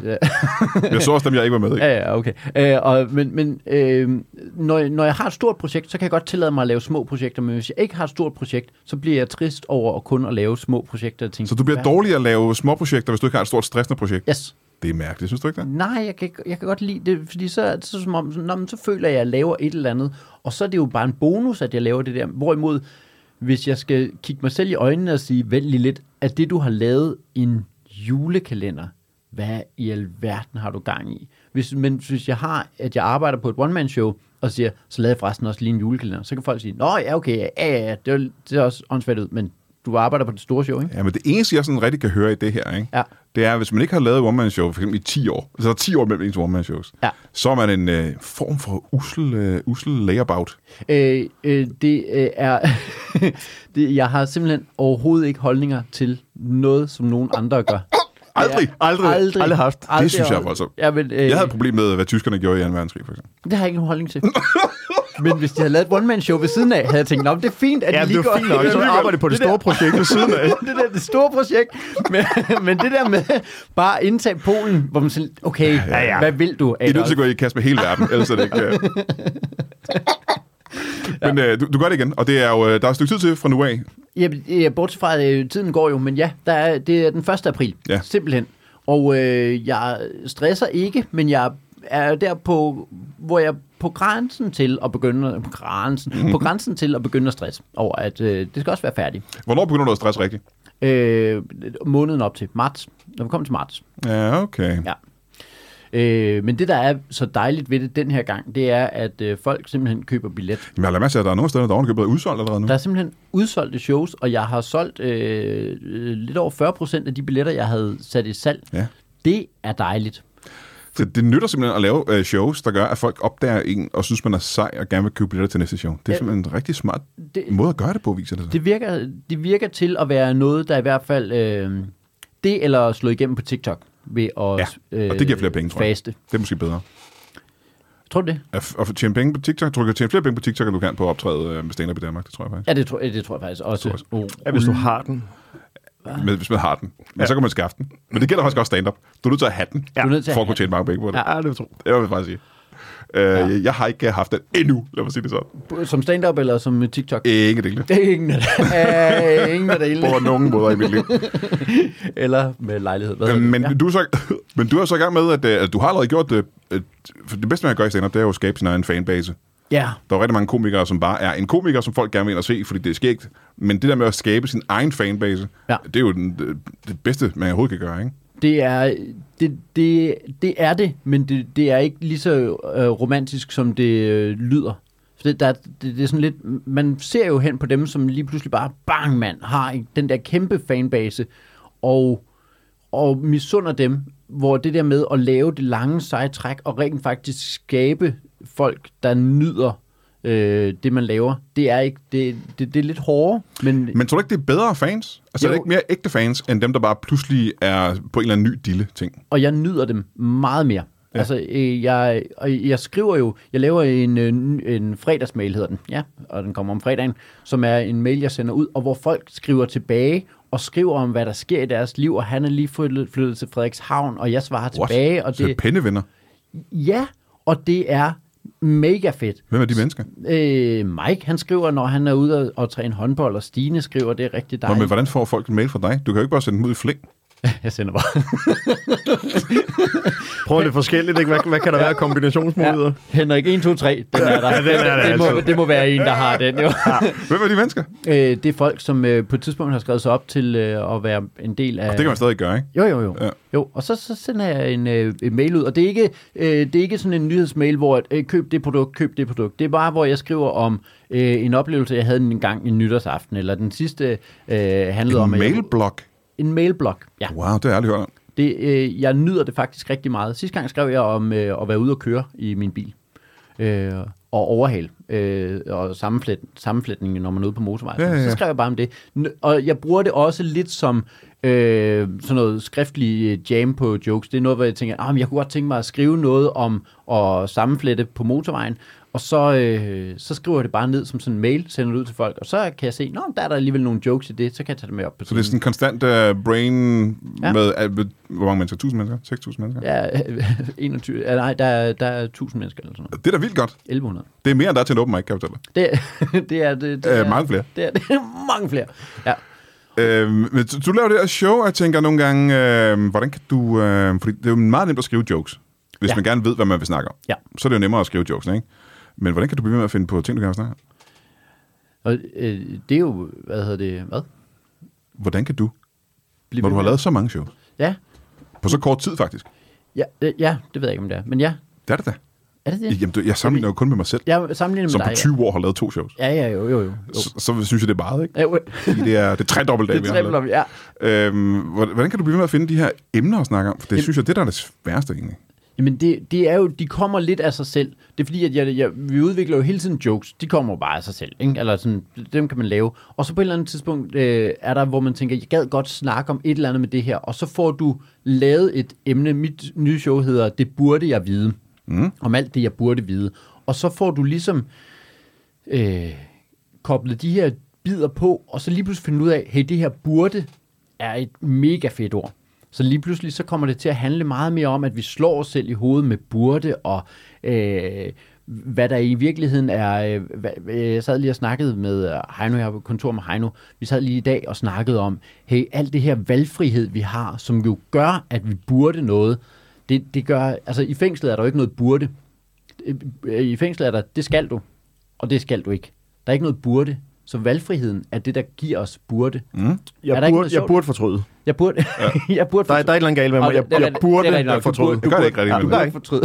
Jeg så også dem, jeg ikke var med i.
Ja, ja, okay. Øh, og, men men øh, når, når jeg har et stort projekt, så kan jeg godt tillade mig at lave små projekter, men hvis jeg ikke har et stort projekt, så bliver jeg trist over at kun at lave små projekter. og tænke,
Så du bliver
"Hvad?"
dårlig at lave små projekter, hvis du ikke har et stort stressende projekt.
Yes.
Det er mærkeligt, synes du ikke det?
Nej, jeg kan, ikke- jeg kan godt lide det, fordi så er det så som om, sådan, "Nå, men så føler jeg, at jeg laver et eller andet, og så er det jo bare en bonus, at jeg laver det der. Hvorimod, hvis jeg skal kigge mig selv i øjnene og sige, vent lige lidt, at det du har lavet en julekalender, hvad i alverden har du gang i? Hvis, men hvis jeg har, at jeg arbejder på et one-man-show, og siger, så lavede jeg forresten også lige en julekalender. Så kan folk sige, nå ja, okay, ja, ja, ja, det, var, det er også åndssvagt ud, men du arbejder på det store show, ikke?
Ja, men det eneste, jeg sådan rigtig kan høre i det her, ikke?
Ja.
det er, hvis man ikke har lavet one-man-show for eksempel i 10 år, altså der er 10 år mellem ens one-man-shows,
Ja.
så er man en øh, form for usel, øh, usel layabout.
Øh, øh, det øh, er... det, jeg har simpelthen overhovedet ikke holdninger til noget, som nogen andre gør.
Aldrig!
Ja,
Aldrig. Aldrig haft.
Det synes jeg er voldsomt.
Ja, men, øh,
Jeg havde et problem med, hvad tyskerne gjorde i 2. verdenskrig, for eksempel.
Det har jeg ikke nogen holdning til. Men hvis de havde lavet et one-man-show ved siden af, havde jeg tænkt, "Nå, men det er fint, at
Ja,
de
det
lige
er
går...
fint nok. Så arbejder på det store projekt ved siden af.
det der det store projekt. Men, men det der med bare at indtage Polen, hvor man sådan, okay, ja, ja,
ja.
hvad vil du,
I er nødt
Adolf?
til at gå i kast med hele verden, ellers er det ikke... Øh... Men øh, du, du gør det igen, og det er jo, øh, der er et stykke tid til fra nu af.
Ja, ja, bortset fra, at øh, tiden går jo, men ja, der er, det er den 1. april,
Ja.
simpelthen. Og øh, jeg stresser ikke, men jeg er der på, hvor jeg er på grænsen til at begynde, på grænsen, på grænsen til at begynde at stresse over, at øh, det skal også være færdigt.
Hvornår begynder du at stresse rigtigt?
Øh, måneden op til marts, når vi kommer til marts.
Ja, okay.
Ja. Øh, men det, der er så dejligt ved det den her gang, det er, at øh, folk simpelthen køber billet.
Jamen, jeg lader mærke til, at der er nogle steder, der ovenkøbet er udsolgt allerede nu.
Der er simpelthen udsolgte shows, og jeg har solgt øh, øh, lidt over 40 procent af de billetter, jeg havde sat i salg.
Ja.
Det er dejligt.
Så det nytter simpelthen at lave øh, shows, der gør, at folk opdager en og synes, man er sej og gerne vil købe billetter til næste show. Det er
Ja.
simpelthen en rigtig smart
Det-
måde at gøre det på, viser det sig.
Det virker, det virker til at være noget, der i hvert fald... Øh, det eller at slå igennem på TikTok ved at
Ja, og det giver flere penge, tror jeg.
faste.
Det er måske bedre.
Tror du det?
At, at tjene penge på TikTok, tror du kan tjene flere penge på TikTok, end du kan på at optræde øh, med stand-up i Danmark, det tror jeg faktisk.
Ja, det tror, det tror jeg faktisk også. Oh,
Ja, hvis du har den.
Ja. Med, hvis man har den. Men ja. så kan man skaffe den. Men det gælder faktisk også stand-up. Du er nødt til at have den,
Du er nødt til at
for at
have
kunne tjene mange penge på det. Ja.
Ja.
Ja, det tror
Det
jeg.
vil jeg faktisk sige. Øh, jeg, jeg har ikke øh, haft den endnu, lad mig sige det sådan.
Oh. som stand-up eller som TikTok?
Ikke det.
Det er ingen af det. Øh, ingen af det hele.
På nogen måder i mit liv.
Eller med lejlighed. Hvad hedder det?
Øh, Men, du er så, men du er så i gang med, at, øh, at du har allerede gjort det. øh, for Det bedste, man kan gøre i stand-up, det er jo at skabe sin egen fanbase.
ja.
Der er rigtig mange komikere, som bare er en komiker, som folk gerne vil ind og se, fordi det er skægt. Men det der med at skabe sin egen fanbase,
Ja.
det er jo den, det, det bedste, man overhovedet kan gøre, ikke?
Det er det, det, det, er det men det, det er ikke lige så øh, romantisk, som det øh, lyder. For det, der, er- det, det er sådan lidt, man ser jo hen på dem, som lige pludselig bare, bang mand, har en- den der kæmpe fanbase, og, og misunder dem, hvor det der med at lave det lange seje træk, og rent faktisk skabe folk, der nyder øh, det, man laver, det er ikke, det, det, det er lidt hårdere, men,
Men tror du ikke, det er bedre fans? Altså,
Jo.
er det ikke mere ægte fans, end dem, der bare pludselig er på en eller anden ny dille-ting?
og jeg nyder dem meget mere. Ja. Altså, øh, jeg, og jeg skriver jo, jeg laver en, øh, n- en fredagsmail, hedder den, ja, og den kommer om fredagen, som er en mail, jeg sender ud, og hvor folk skriver tilbage og skriver om, hvad der sker i deres liv, og han er lige flyttet, flyttet til Frederikshavn, og jeg svarer tilbage, og
Så det...
det,
pennevenner.
ja, og det er mega fedt.
Hvem er de mennesker?
Øh, Mike, han skriver, når han er ude og, og træne håndbold, og Stine skriver, det er rigtig
Nå,
dejligt.
men hvordan får folk en mail fra dig? Du kan jo ikke bare sende dem ud i flæng.
Jeg sender bare.
Prøv lidt forskelligt, ikke? Hvad, hvad kan der være af kombinationsmuligheder?
Henrik 1, 2, 3, den er der.
Ja, den er der
det, må,
altså.
det må være en, der har den, jo.
Hvem er de mennesker?
Øh, det er folk, som øh, på et tidspunkt har skrevet sig op til øh, at være en del af...
Det kan man stadig gøre, ikke?
Jo, jo, jo.
Ja.
Ja. jo og så, så sender jeg en, øh, en mail ud, og det er ikke, øh, det er ikke sådan en nyhedsmail, hvor at, øh, køb det produkt, køb det produkt. Det er bare, hvor jeg skriver om øh, en oplevelse, jeg havde en gang en nytårsaften, eller den sidste øh, handlede om...
En
at jeg-
mailblog?
En mailblog, ja.
Wow, det har jeg aldrig hørt om.
Det, øh, jeg nyder det faktisk rigtig meget. Sidste gang skrev jeg om øh, at være ude og køre i min bil. Øh, og overhale øh, og sammenflæt, sammenflætningen, når man er ude på motorvejen.
Ja, ja, ja.
Så skrev jeg bare om det. N- og jeg bruger det også lidt som øh, sådan noget skriftlig øh, jam på jokes. Det er noget, hvor jeg tænker, ah, men jeg kunne godt tænke mig at skrive noget om at sammenflette på motorvejen. Og så, øh, så skriver jeg det bare ned som sådan en mail, sender det ud til folk. Og så kan jeg se, nå, der er der alligevel nogle jokes i det, så kan jeg tage det med op på
Så det er sådan en konstant uh, brain ja.
Ja.
med, uh, med, hvor mange mennesker? 1000 mennesker? 6000 mennesker? Ja.
Ja, 21. Ja, nej, der, er- der er 1000 mennesker eller sådan noget.
Det er da vildt godt.
1100.
Det er mere, end der er til en open mic, kan jeg fortælle dig.
Det, er- det er... Det, det
Øh,
er,
mange flere.
Det er, det er mange flere. Ja.
Øh, men du- du laver det her show, og jeg tænker nogle gange, øh, hvordan kan du... Øh, fordi det er jo meget nemt at skrive jokes, hvis ja.
Ja.
man gerne ved, hvad man vil snakke om.
Ja.
Så er det jo nemmere at skrive jokes, ikke? Men hvordan kan du blive ved med at finde på ting, du gerne vil snakke om?
Og øh, det er jo... Hvad hedder det? Hvad?
Hvordan kan du,
Bliv
når du har
ved.
lavet så mange shows?
Ja,
På så kort tid, faktisk.
ja, øh, ja, det ved jeg ikke, om det er. Men ja,
Det er det da.
Er det det?
Jamen, du- jeg sammenligner jo kun med mig selv,
Jeg sammenligner med
som på
dig.
20 år har lavet to shows.
Ja, ja, ja, jo, jo, jo. jo.
Så, så synes jeg, det er meget, ikke?
Ja, jo.
Fordi det er, det er tredobbelt af,
Det
vi har
træfler
lavet.
vi, ja.
Øhm, hvor- hvordan kan du blive ved med at finde de her emner at snakke om? For det
Jamen-
synes jeg, det der er det sværeste, egentlig.
Jamen, det, det er jo, de kommer lidt af sig selv. Det er fordi, at jeg, jeg, vi udvikler jo hele tiden jokes. De kommer jo bare af sig selv. Ikke? Eller sådan, dem kan man lave. Og så på et eller andet tidspunkt øh, er der, hvor man tænker, jeg gad godt snakke om et eller andet med det her. Og så får du lavet et emne. Mit nye show hedder Det burde jeg vide. Mm. Om alt det, jeg burde vide. Og så får du ligesom øh, koblet de her bider på, og så lige pludselig finde ud af, hey, det her burde er et mega fedt ord. Så lige pludselig så kommer det til at handle meget mere om, at vi slår os selv i hovedet med burde, og øh, hvad der i virkeligheden er... Øh, hvad, øh, jeg sad lige og snakkede med øh, Heino, jeg har kontor med Heino. Vi sad lige i dag og snakkede om, hey, alt det her valgfrihed, vi har, som jo gør, at vi burde noget, det, det gør... Altså i fængslet er der jo ikke noget burde. Øh, I fængslet er der, det skal du og det skal du ikke. Der er ikke noget burde. Så valgfriheden er det, der giver os burde. Mm.
Jeg,
Er der ikke
burde,
noget
jeg
sjovt?
burde fortryde.
Jeg burde... Ja. jeg burde
Der, er- der er et eller andet galt med mig.
Og
Jeg,
det- det er
jeg
rigtigt-
burde
det er rigtigt nok, du burde-
fortryde.
Jeg gør det ikke rigtig,
Ja,
men
du gør
jeg
ikke.
fortryde.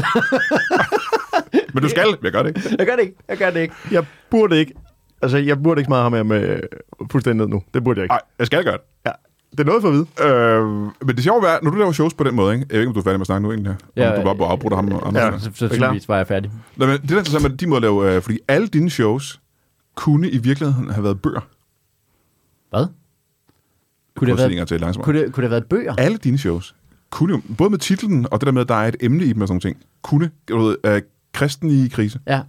Men du skal, men jeg gør det ikke.
jeg gør det ikke. Jeg gør det ikke.
Jeg burde ikke. Altså, jeg burde ikke smadre ham her med øh, fuldstændig ned nu. Det burde jeg ikke.
Nej, jeg skal gøre det.
Ja. Det er noget for at vide.
Øh, men det sjove er, når du laver shows på den måde, ikke? jeg ved ikke, om du er færdig med at snakke nu egentlig her. Ja,
Ja,
om du bare
øh,
bare afbrudt ham. Og
ja.
ja.
Så,
Er
så
du klar?
tydeligvis var jeg færdig.
Nå, men det er interessant med din måde at lave, øh, fordi alle dine shows kunne i virkeligheden have været bøger.
Hvad? Kunne det, have været,
til langsomt.
kunne, det, kunne det have været bøger?
Alle dine shows kunne jo, både med titlen og det der med, at der er et emne i dem og sådan nogle ting, kunne, du ved, øh, kristen i krise.
Ja.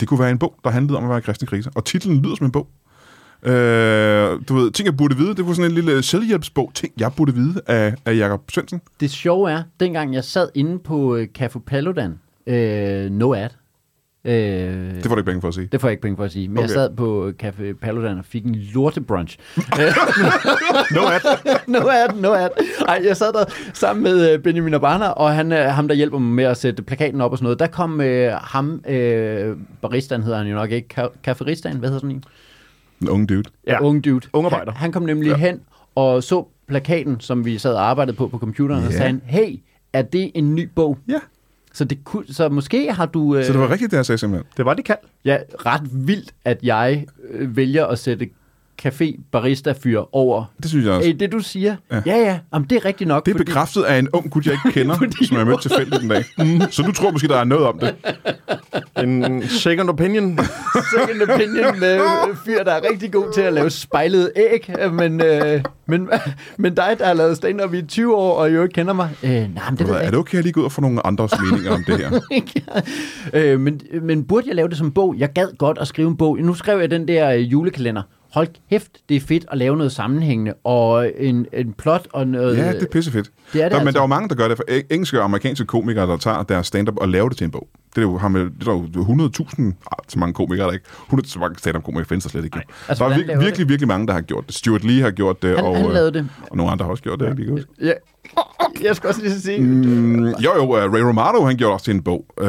Det kunne være en bog, der handlede om at være i kristen krise. Og titlen lyder som en bog. Øh, du ved, ting jeg burde vide, det var sådan en lille selvhjælpsbog, ting jeg burde vide af, af Jakob Svendsen.
Det sjove er, dengang jeg sad inde på øh, Café Paludan, øh, no ad, øh,
Det får du ikke penge for at sige.
Det får jeg ikke penge for at sige. Men okay. jeg
Okay.
sad på øh, Café Paludan og fik en lortebrunch.
No ad.
no ad, no ad. Ej, jeg sad der sammen med øh, Benjamin Abana, og han, øh, ham, der hjælper mig med at sætte plakaten op og sådan noget. Der kom øh, ham, øh, baristan hedder han jo nok ikke, Ka- kafferistan, hvad hedder sådan en?
En ung dude.
Ja.
Ung dude.
Ung arbejder.
Han, han kom nemlig ja. hen og så plakaten, som vi sad og arbejdede på på computeren, yeah. og
Ja.
så sagde han, hey, er det en ny bog?
Ja.
Så, det kunne, så måske har du... Øh,
Så det var rigtigt, det jeg sagde simpelthen.
Det var det kald.
Ja, ret vildt, at jeg øh, vælger at sætte café barista fyr over
Det synes jeg også.
Æ, det du siger. Ja, ja, ja. Jamen, det er rigtigt nok.
Det er bekræftet af en ung gut, jeg ikke kender,
Fordi- Mhm.
som jeg mødte tilfældigt den dag. Så du tror måske, der er noget om det.
En second opinion.
second opinion med øh, fyr, der er rigtig god til at lave spejlede æg, øh, men, øh, men, men dig, der har lavet stand-up i 20 år, og jo ikke kender mig, øh, nej, men det ved
Er
jeg
det okay, at jeg lige går ud og får nogle andres meninger om det her?
ikke. øh, men, men burde jeg lave det som bog? Jeg gad godt at skrive en bog. Nu skrev jeg den der øh, julekalender. Hold kæft, det er fedt at lave noget sammenhængende, og en, en plot og noget...
Ja, det er pissefedt.
Øh, det er det
der, Men
altså.
der er jo mange, der gør det. For eng- engelske og amerikanske komikere, der tager deres stand-up og laver det til en bog. Det er jo, har med, det er jo 100.000, ah, så mange komikere er der ikke. 100, så mange stand-up komikere findes der slet ikke.
altså,
Altså, der er
hvordan
vir-
laver
virkelig, det? virkelig mange, der har gjort det. Stuart Lee har gjort det.
Han-
og,
han
øh,
lavede det.
Og nogle andre har også gjort det. Jeg kan ikke huske.
Ja. Jeg skal også lige så sige...
Mm, jo, jo, uh, Ray Romano, han gjorde også til en bog. Uh,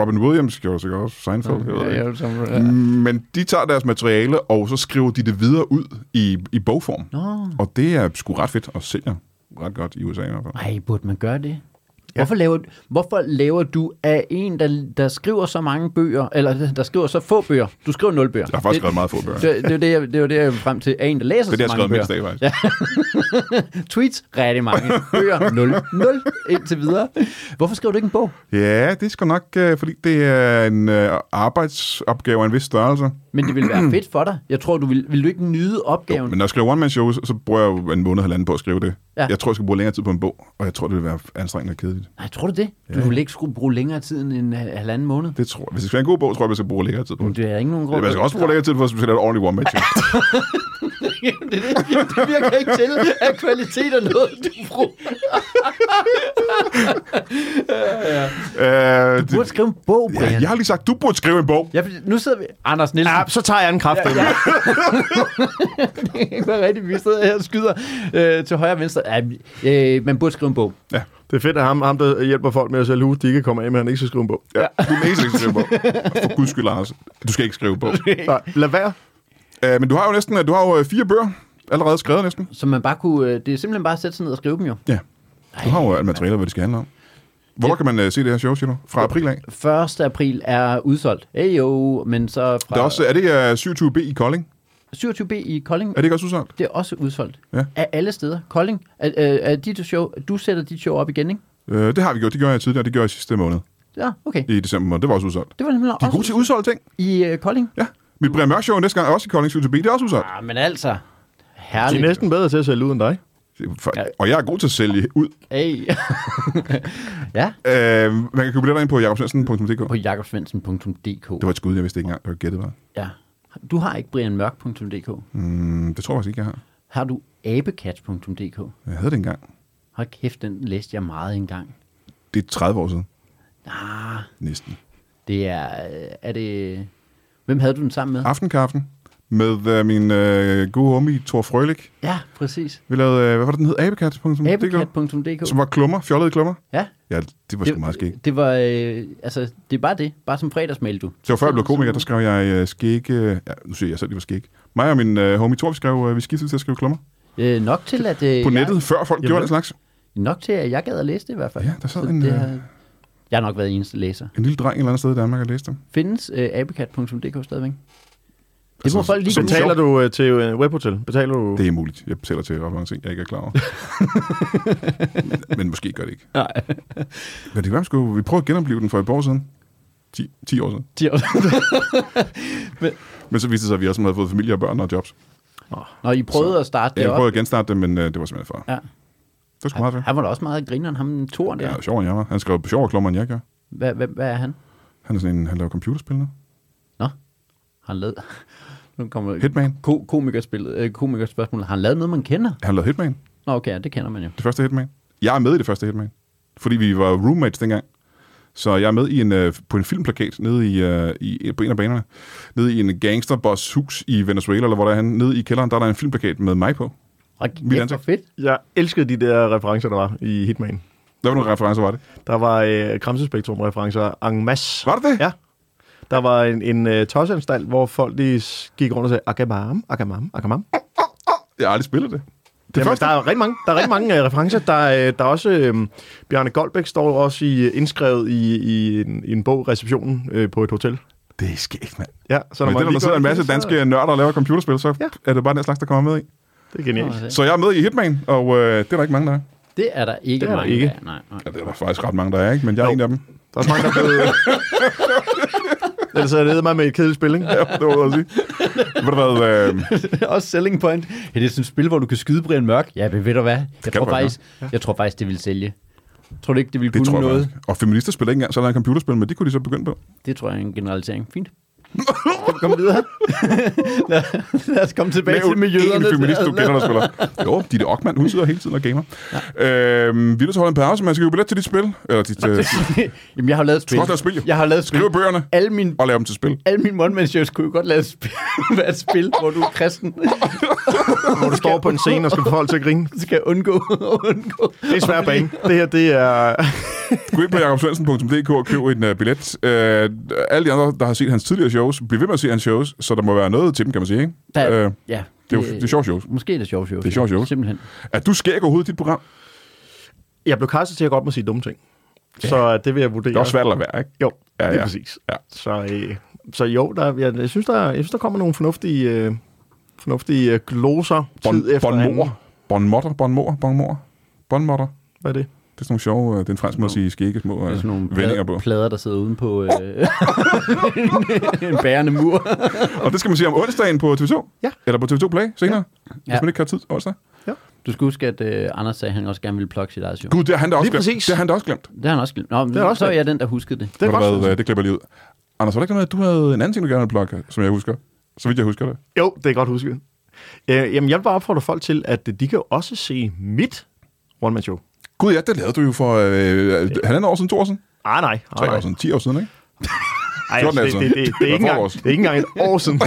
Robin Williams gjorde det sikkert også. Seinfeld, jeg ved det ikke. Mm. Men de tager deres materiale, og så skriver de det videre ud i, i bogform.
Nå.
Og det er sgu ret fedt og sælger ret godt i USA i hvert fald.
Ej, burde man gøre det? Ja. Hvorfor, laver, hvorfor laver du af en, der, der skriver så mange bøger, eller der skriver så få bøger? Du skriver nul bøger.
Jeg har faktisk skrevet meget få bøger. Det,
det, det, er det, jeg, det er jo det, jeg vil frem til. Af en, der læser
er det, jeg har
så
skrevet
mange
mindst
bøger.
af, faktisk.
Ja. Tweets, rigtig mange. Bøger, nul. Nul indtil videre. Hvorfor skriver du ikke en bog?
Ja, det er sgu nok, øh, fordi det er en øh, arbejdsopgave af en vis størrelse.
Men det ville være fedt for dig. Jeg tror, du vil, vil du ikke nyde opgaven.
Jo, men når jeg skriver one-man-shows, så bruger jeg jo en måned og halvanden på at skrive det.
Ja.
Ja. Jeg tror, jeg skal bruge længere tid på en bog, og jeg tror, det vil være anstrengende og kedeligt.
Nej, tror du det? Du ville ikke skulle bruge længere tid end en øh, halvanden måned.
Det tror jeg. Hvis jeg skal have en god bog, tror jeg, jeg skal bruge længere tid på
Men
det.
det er ikke nogen grund.
Men jeg skal også bruge længere tid på, at jeg skal lave et ordentligt Øh, one-man-show.
Jamen, det, er det, det virker ikke til, at kvalitet er noget, du bruger.
øh,
Du burde
det,
skrive en bog,
ja,
Brian.
jeg har lige sagt, du burde skrive en bog.
Ja, fordi nu sidder vi... Anders Nielsen.
Ja, så tager jeg en kraft. Ja, ja.
det kan ikke være rigtigt. Vi sidder her og skyder øh, til højre og venstre. Ja, øh, man burde skrive en bog.
Det er fedt, at ham, ham, der hjælper folk med at sælge hus, de ikke kommer af med, at han ikke skal skrive en bog.
Ja, du er den eneste, der ikke skal skrive en bog. For guds skyld, Anders. Du skal ikke skrive en bog.
Nej, lad være.
Uh, men du har jo næsten du har jo øh, fire bøger allerede skrevet næsten.
Så man bare kunne... Øh, det er simpelthen bare at sætte sig ned og skrive dem jo.
Ja. Du har jo alt materiale, hvad det skal handle om. Hvornår kan man øh, se det her show, siger du? Fra april af?
1. april er udsolgt. Hey jo, men så fra
Der er, også, er det øh, 27B i Kolding?
27B i Kolding,
Er det ikke også udsolgt?
det er også udsolgt.
Ja.
Af alle steder. Kolding, er, er, er dit show, du sætter dit show op igen, ikke?
Øh, det har vi gjort. Det gjorde jeg tidligere. Det gjorde jeg sidste måned.
Ja, okay.
I december måned. Det var også udsolgt.
Det var nemlig
De er gode
også
til udsolgte ting.
i øh, Kolding.
Ja. Mit Brian Mørk show næste gang er også i Kolding 27B. Det er også udsolgt.
Ah, men altså,
De er
herligt.
næsten bedre til at sælge ud end dig.
Og jeg er god til at sælge ud.
Hey. ja,
Øh, man kan købe billetter ind på jakobsvensen.dk.
på jakobsvensen.dk.
Det var et skud, jeg vidste ikke engang, det var gættet var.
Ja. Du har ikke brianmørk.dk.
Mm, det tror jeg faktisk ikke, jeg har.
Har du abekat.dk?
Jeg havde det engang.
Hold kæft, den læste jeg meget engang.
Det er 30 år siden.
Ah,
Næsten.
det er... øh, Er det... Hvem havde du den sammen
Ah.
med?
Aftenkaffen med øh, min øh, gode homie Thor Frølik.
Ja, præcis.
Vi lavede, øh, hvad var det, den hed? Abekat.dk?
Abekat.dk.
Som var klummer, fjollede klummer.
Ja,
Ja, det var sgu meget skægt.
det var... Øh, altså, det er bare det. Bare som fredagsmail, du.
Det var før jeg blev komiker, der skrev jeg øh, skæg... Øh, ja, nu siger jeg selv, det var skæg. Mig og min øh, homie Thor, vi, skrev, øh, vi skiftede til at skrive klummer.
Øh, nok til, at... Øh,
På nettet, før folk gjorde
Jamen.
den slags.
Jeg, nok til, at jeg gad at læse det i hvert fald.
Ja, der sad
Så
en,
det
øh,
har, Jeg har nok været eneste læser.
En lille dreng et eller andet sted i Danmark, jeg læste dem.
Findes øh, abekat.dk stadigvæk? Det
Altså,
må folk lige
som
gå ud-
sjov.
Betaler du øh, til øh, webhotel? Betaler du...
Det er muligt. Jeg betaler til ret mange ting, jeg ikke er klar over. Men måske gør det ikke.
Nej.
Men det kan være, vi skulle- vi prøver at genopleve den for et par år siden. 10, 10 år siden.
De har-
Men så viste det sig, at vi også havde fået familie og børn og jobs.
Nå, I prøvede
Så-
at starte
Ja,
det
jeg
op.
prøvede at genstarte det, men øh, det var simpelthen for.
Ja.
Det var sgu meget
Han,
fedt.
han var da også meget grineren, ham toren
Ja,
der.
sjovere end jeg var. Han skrev på sjovere klummer, end jeg gør.
Hvad, hvad, hvad er han?
Han er sådan en, han laver computerspil nu.
Nå, han lavede... Nu kommer
Hitman.
Ko- komikerspillet, øh, komikerspørgsmålet. Har han lavet noget, man kender?
Han lavede Hitman.
Nå, okay, ja, det kender man jo.
Det første Hitman. Jeg er med i det første Hitman. Fordi vi var roommates dengang. Så jeg er med i en, øh, på en filmplakat nede i, øh, i, på en af banerne. Nede i en gangsterboss hus i Venezuela, eller hvor der er han. Nede i kælderen, der er der en filmplakat med mig på.
Og
Mit
kæft, hvor
ansigt.
fedt.
Jeg elskede de der referencer, der var i Hitman.
Hvad for nogle referencer var det?
Der var øh, Kramsespektrum-referencer en masse.
Var det det?
Ja. Der var en, en uh, tosseanstalt, hvor folk de s- gik rundt og sagde, Agamam, Agamam, Agamam.
Jeg har aldrig spillet det.
Det Jamen,
første-
der er rigtig mange, der er rigtig mange uh, referencer. Der, uh, der er også uh, Bjarne Goldbæk står også i, øh, indskrevet i, i, en, i en bog, receptionen uh, på et hotel.
Det er skægt, mand.
Ja, så
Men det, når
lige
der sidder
går
en
ind i
masse
det, så-
danske nørder og laver computerspil, så
Ja.
er det bare den slags, der kommer med i.
Det er genialt.
Nå, det-
Så jeg er med i Hitman, og øh, det er der ikke mange, der er.
Det er der ikke
Det er der
mange
ikke.
af. Nej, nej.
Ja, det er der faktisk ret mange, der er, ikke? Men jeg er
Jo.
en af dem.
Der er også mange, der er blevet... Ellers er det mig med et kedeligt spil, ikke?
Ja, det var det, jeg ville sige. Ved du hvad, øh,
Det er også selling point. Ja, det er sådan et spil, hvor du kan skyde Brian Mørk. Ja, men ved du hvad? Jeg
kan
tror,
du godt
faktisk, jeg tror faktisk, det vil sælge. Tror du ikke, det vil
det
kunne
tror jeg
noget?
faktisk. Og feminister spiller ikke engang så langt computerspil, men det kunne de så begynde på.
Det tror jeg er en generalisering. Fint. Kom videre. lad, lad os komme tilbage til med jøderne.
en feminist, du kender, der spiller. Jo, Ditte Ockmann, hun sidder hele tiden og gamer. Ja. Øhm, vi er nødt til at holde en pause, man skal købe billet til dit spil. Eller dit, øh,
Jamen, jeg har lavet et spil.
Du skal også lave spil, jo.
Jeg har lavet et spil.
skrive bøgerne
Alle mine,
og lave dem til spil.
alle mine one man shows kunne jo godt lave et spil, være et spil, hvor du er kristen.
Hvor du står på en scene og skal få folk til at grine.
Du skal undgå, undgå.
Det er svært bane. Det her, det er...
Gå ind på jakobsvensen.dk og køb en uh, billet. Uh, alle de andre, der har set hans tidligere shows, bliver ved med at se hans shows, så der må være noget til dem, kan man sige. Ikke?
Der,
Øh,
ja,
det, er jo, det er sjovt shows.
Måske er det sjovt show.
Det er sjovt show.
Simpelthen.
Er du skæg overhovedet i dit program?
Jeg blev kastet til at godt må sige dumme ting. Så øh, det vil jeg vurdere.
Det er også svært at lade være, ikke?
Jo,
Ja,
ja,
ja.
lige præcis.
Ja.
Så, øh, så jo, der, jeg, jeg, synes, der, jeg synes, der kommer nogle fornuftige, øh, fornuftige øh, gloser bon, tid
Bon,
efter
bonmor.
anden.
Bonmotter, bonmor, bonmor. Bonmotter.
Hvad er det?
Det er sådan nogle sjove, øh, det er en fransk måde at sige skægge små
Det er
øh,
sådan nogle
vendinger
plader,
på.
plader der sidder uden på øh, en bærende mur.
Og det skal man se om onsdagen på TV2.
Ja.
Eller på TV2 Play senere. Ja. Hvis
Ja.
man ikke har tid onsdag.
Du skal huske, at øh, Anders sagde, at han også gerne ville plukke sit eget show.
Gud, det har han da også
Lige
glemt.
præcis.
Det har han da også glemt.
Det har han også glemt. Nå, men
Det er også
så er
glemt.
jeg den, der huskede det.
Det er
Ved du
godt.
hvad, øh, det klipper jeg lige ud. Anders, var det ikke noget, med, at du havde en anden ting, du gerne ville plukke, som jeg husker? Så vidt jeg husker det.
Jo, det er godt husket. Øh, jamen, jeg vil bare opfordre folk til, at øh, de kan jo også se mit one-man-show.
Gud ja, det lavede du jo for øh, halvandet år siden, to år siden.
Ah, nej. Ah,
Tre
nej.
år siden, ti år siden, ikke?
Ej,
14
altså,
altså.
det, det, det, det,
Det
er
var
ikke engang,
forårs.
det er ikke engang et år siden.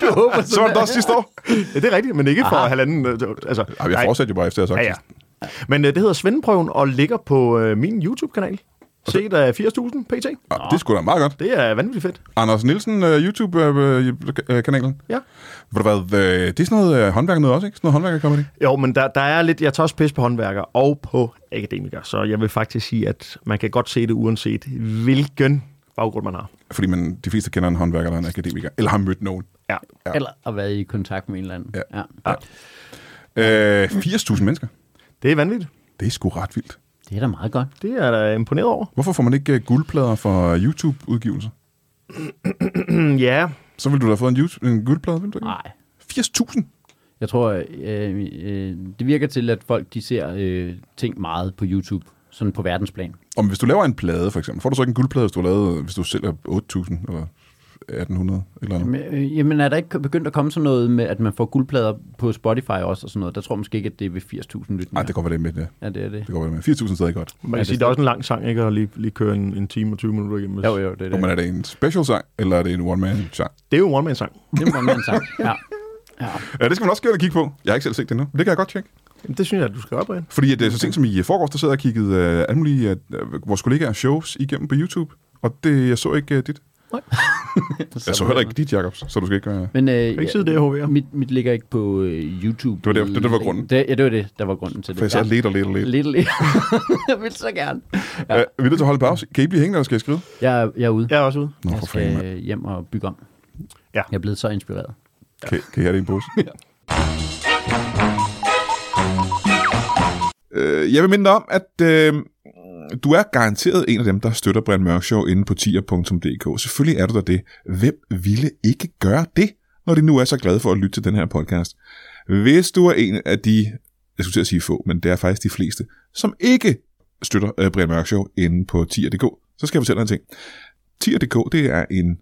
Jeg håber,
Så var det også sidste år.
ja, det er rigtigt, men ikke for
Aha.
halvanden... øh, Altså,
Ej, jeg
nej.
fortsatte jo bare efter, jeg havde sagt
Ja, ja. Men øh, det hedder Svendeprøven og ligger på øh, min YouTube-kanal. set af 80.000 pt.
Og Ah, det er sgu da meget godt.
Det er vanvittigt fedt.
Anders Nielsen, øh, YouTube-kanalen.
Ja.
Ved du hvad, øh, det er sådan noget øh, håndværker noget også, ikke? Sådan noget håndværker-comedy.
Jo, men der, der er lidt, jeg tager også pis på håndværker og på akademikere, så jeg vil faktisk sige, at man kan godt se det uanset hvilken baggrund man har.
Fordi man, de fleste kender en håndværker eller en akademiker, eller har mødt nogen.
Ja.
Ja.
Ja. Eller at være i kontakt med en eller anden.
Ja.
ja.
ja.
Øh, 80.000 mennesker.
Det er vanvittigt.
Det er sgu ret vildt.
Det er da meget godt.
Det er jeg da imponeret over.
Hvorfor får man ikke øh, guldplader for YouTube-udgivelser?
Mm, ja,
Så ville du da have fået en, YouTube, en guldplade, ville du ikke?
Nej.
80.000?
Jeg tror, øh, øh, det virker til, at folk de ser øh, ting meget på YouTube, sådan på verdensplan.
Om hvis du laver en plade, for eksempel, får du så ikke en guldplade, hvis du, lavede, hvis du sælger 8.000 eller 1.800 eller noget?
Men, øh, jamen er der ikke begyndt at komme sådan noget med, at man får guldplader på Spotify også og sådan noget? Der tror jeg måske ikke, at det er ved 80.000 lytninger.
Nej, det kan godt være det med det.
Ja, det er det.
Det kan godt være det med. 4.000 er stadig godt.
man
Ja,
kan
det
sige,
er
der er også en lang sang, ikke? Og lige, lige køre en, en time og 20 minutter igennem.
Jo, jo, det er
Ja.
det.
Men er det en special sang, eller er det en one-man-sang?
Det er jo en one-man-sang.
Det må man sige. Ja. ja.
Ja, det skal man også gerne kigge på. Jeg har ikke selv set det endnu, men det kan jeg godt tjekke.
Jamen, Det synes jeg, at du skal op, Brian.
Fordi at, øh, så sent som i forgårs, der sad jeg og kiggede øh, alle mulige øh, vores kollegaer shows igennem på YouTube, og det, jeg så ikke øh, dit. Jeg så heller ikke dit, Jacobs, så du skal ikke være...
Men øh,
kan ikke sidde der og hovere.
mit, mit ligger ikke på øh, YouTube.
Det var det- det- det var grunden.
Det, ja, det var det, der var grunden til det.
For jeg sad
ja.
lidt og lidt og lidt.
lidt. lidt. jeg vil så gerne.
Ja. Øh, er vi nødt til at holde pause? Kan I blive hængende, eller skal jeg skrive?
Jeg, er- jeg er ude.
Jeg er også ude.
Nå,
jeg
for fanden, mand.
skal hjem og bygge om.
Ja.
Jeg er blevet så inspireret.
Kan, kan I have det i en pose? Øh, jeg vil minde dig om, at øh, du er garanteret en af dem, der støtter Brian Mørk Show inde på tier.dk. Selvfølgelig er du da det. Hvem ville ikke gøre det, når de nu er så glade for at lytte til den her podcast? Hvis du er en af de, jeg skulle til at sige få, men det er faktisk de fleste, som ikke støtter øh, Brian Mørk Show inde på tier.dk, så skal jeg fortælle dig en ting. Tier.dk, det er en,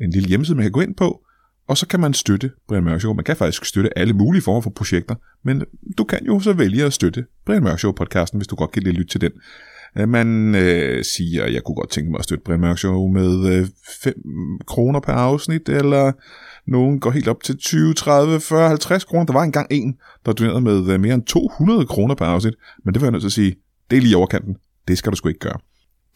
en lille hjemmeside, man kan gå ind på, og så kan man støtte Brian Mørk Show. Man kan faktisk støtte alle mulige former for projekter, men du kan jo så vælge at støtte Brian Mørk Show podcasten, hvis du godt kan lide at lytte til den. Øh, Man øh, siger, at jeg kunne godt tænke mig at støtte Brian Mørk Show med øh, 5 kroner per afsnit, eller nogen går helt op til 20, 30, 40, 50 kroner. Der var engang en, der donerede med øh, mere end 200 kroner per afsnit, men det var jeg nødt til at sige, det er lige i overkanten. Det skal du sgu ikke gøre.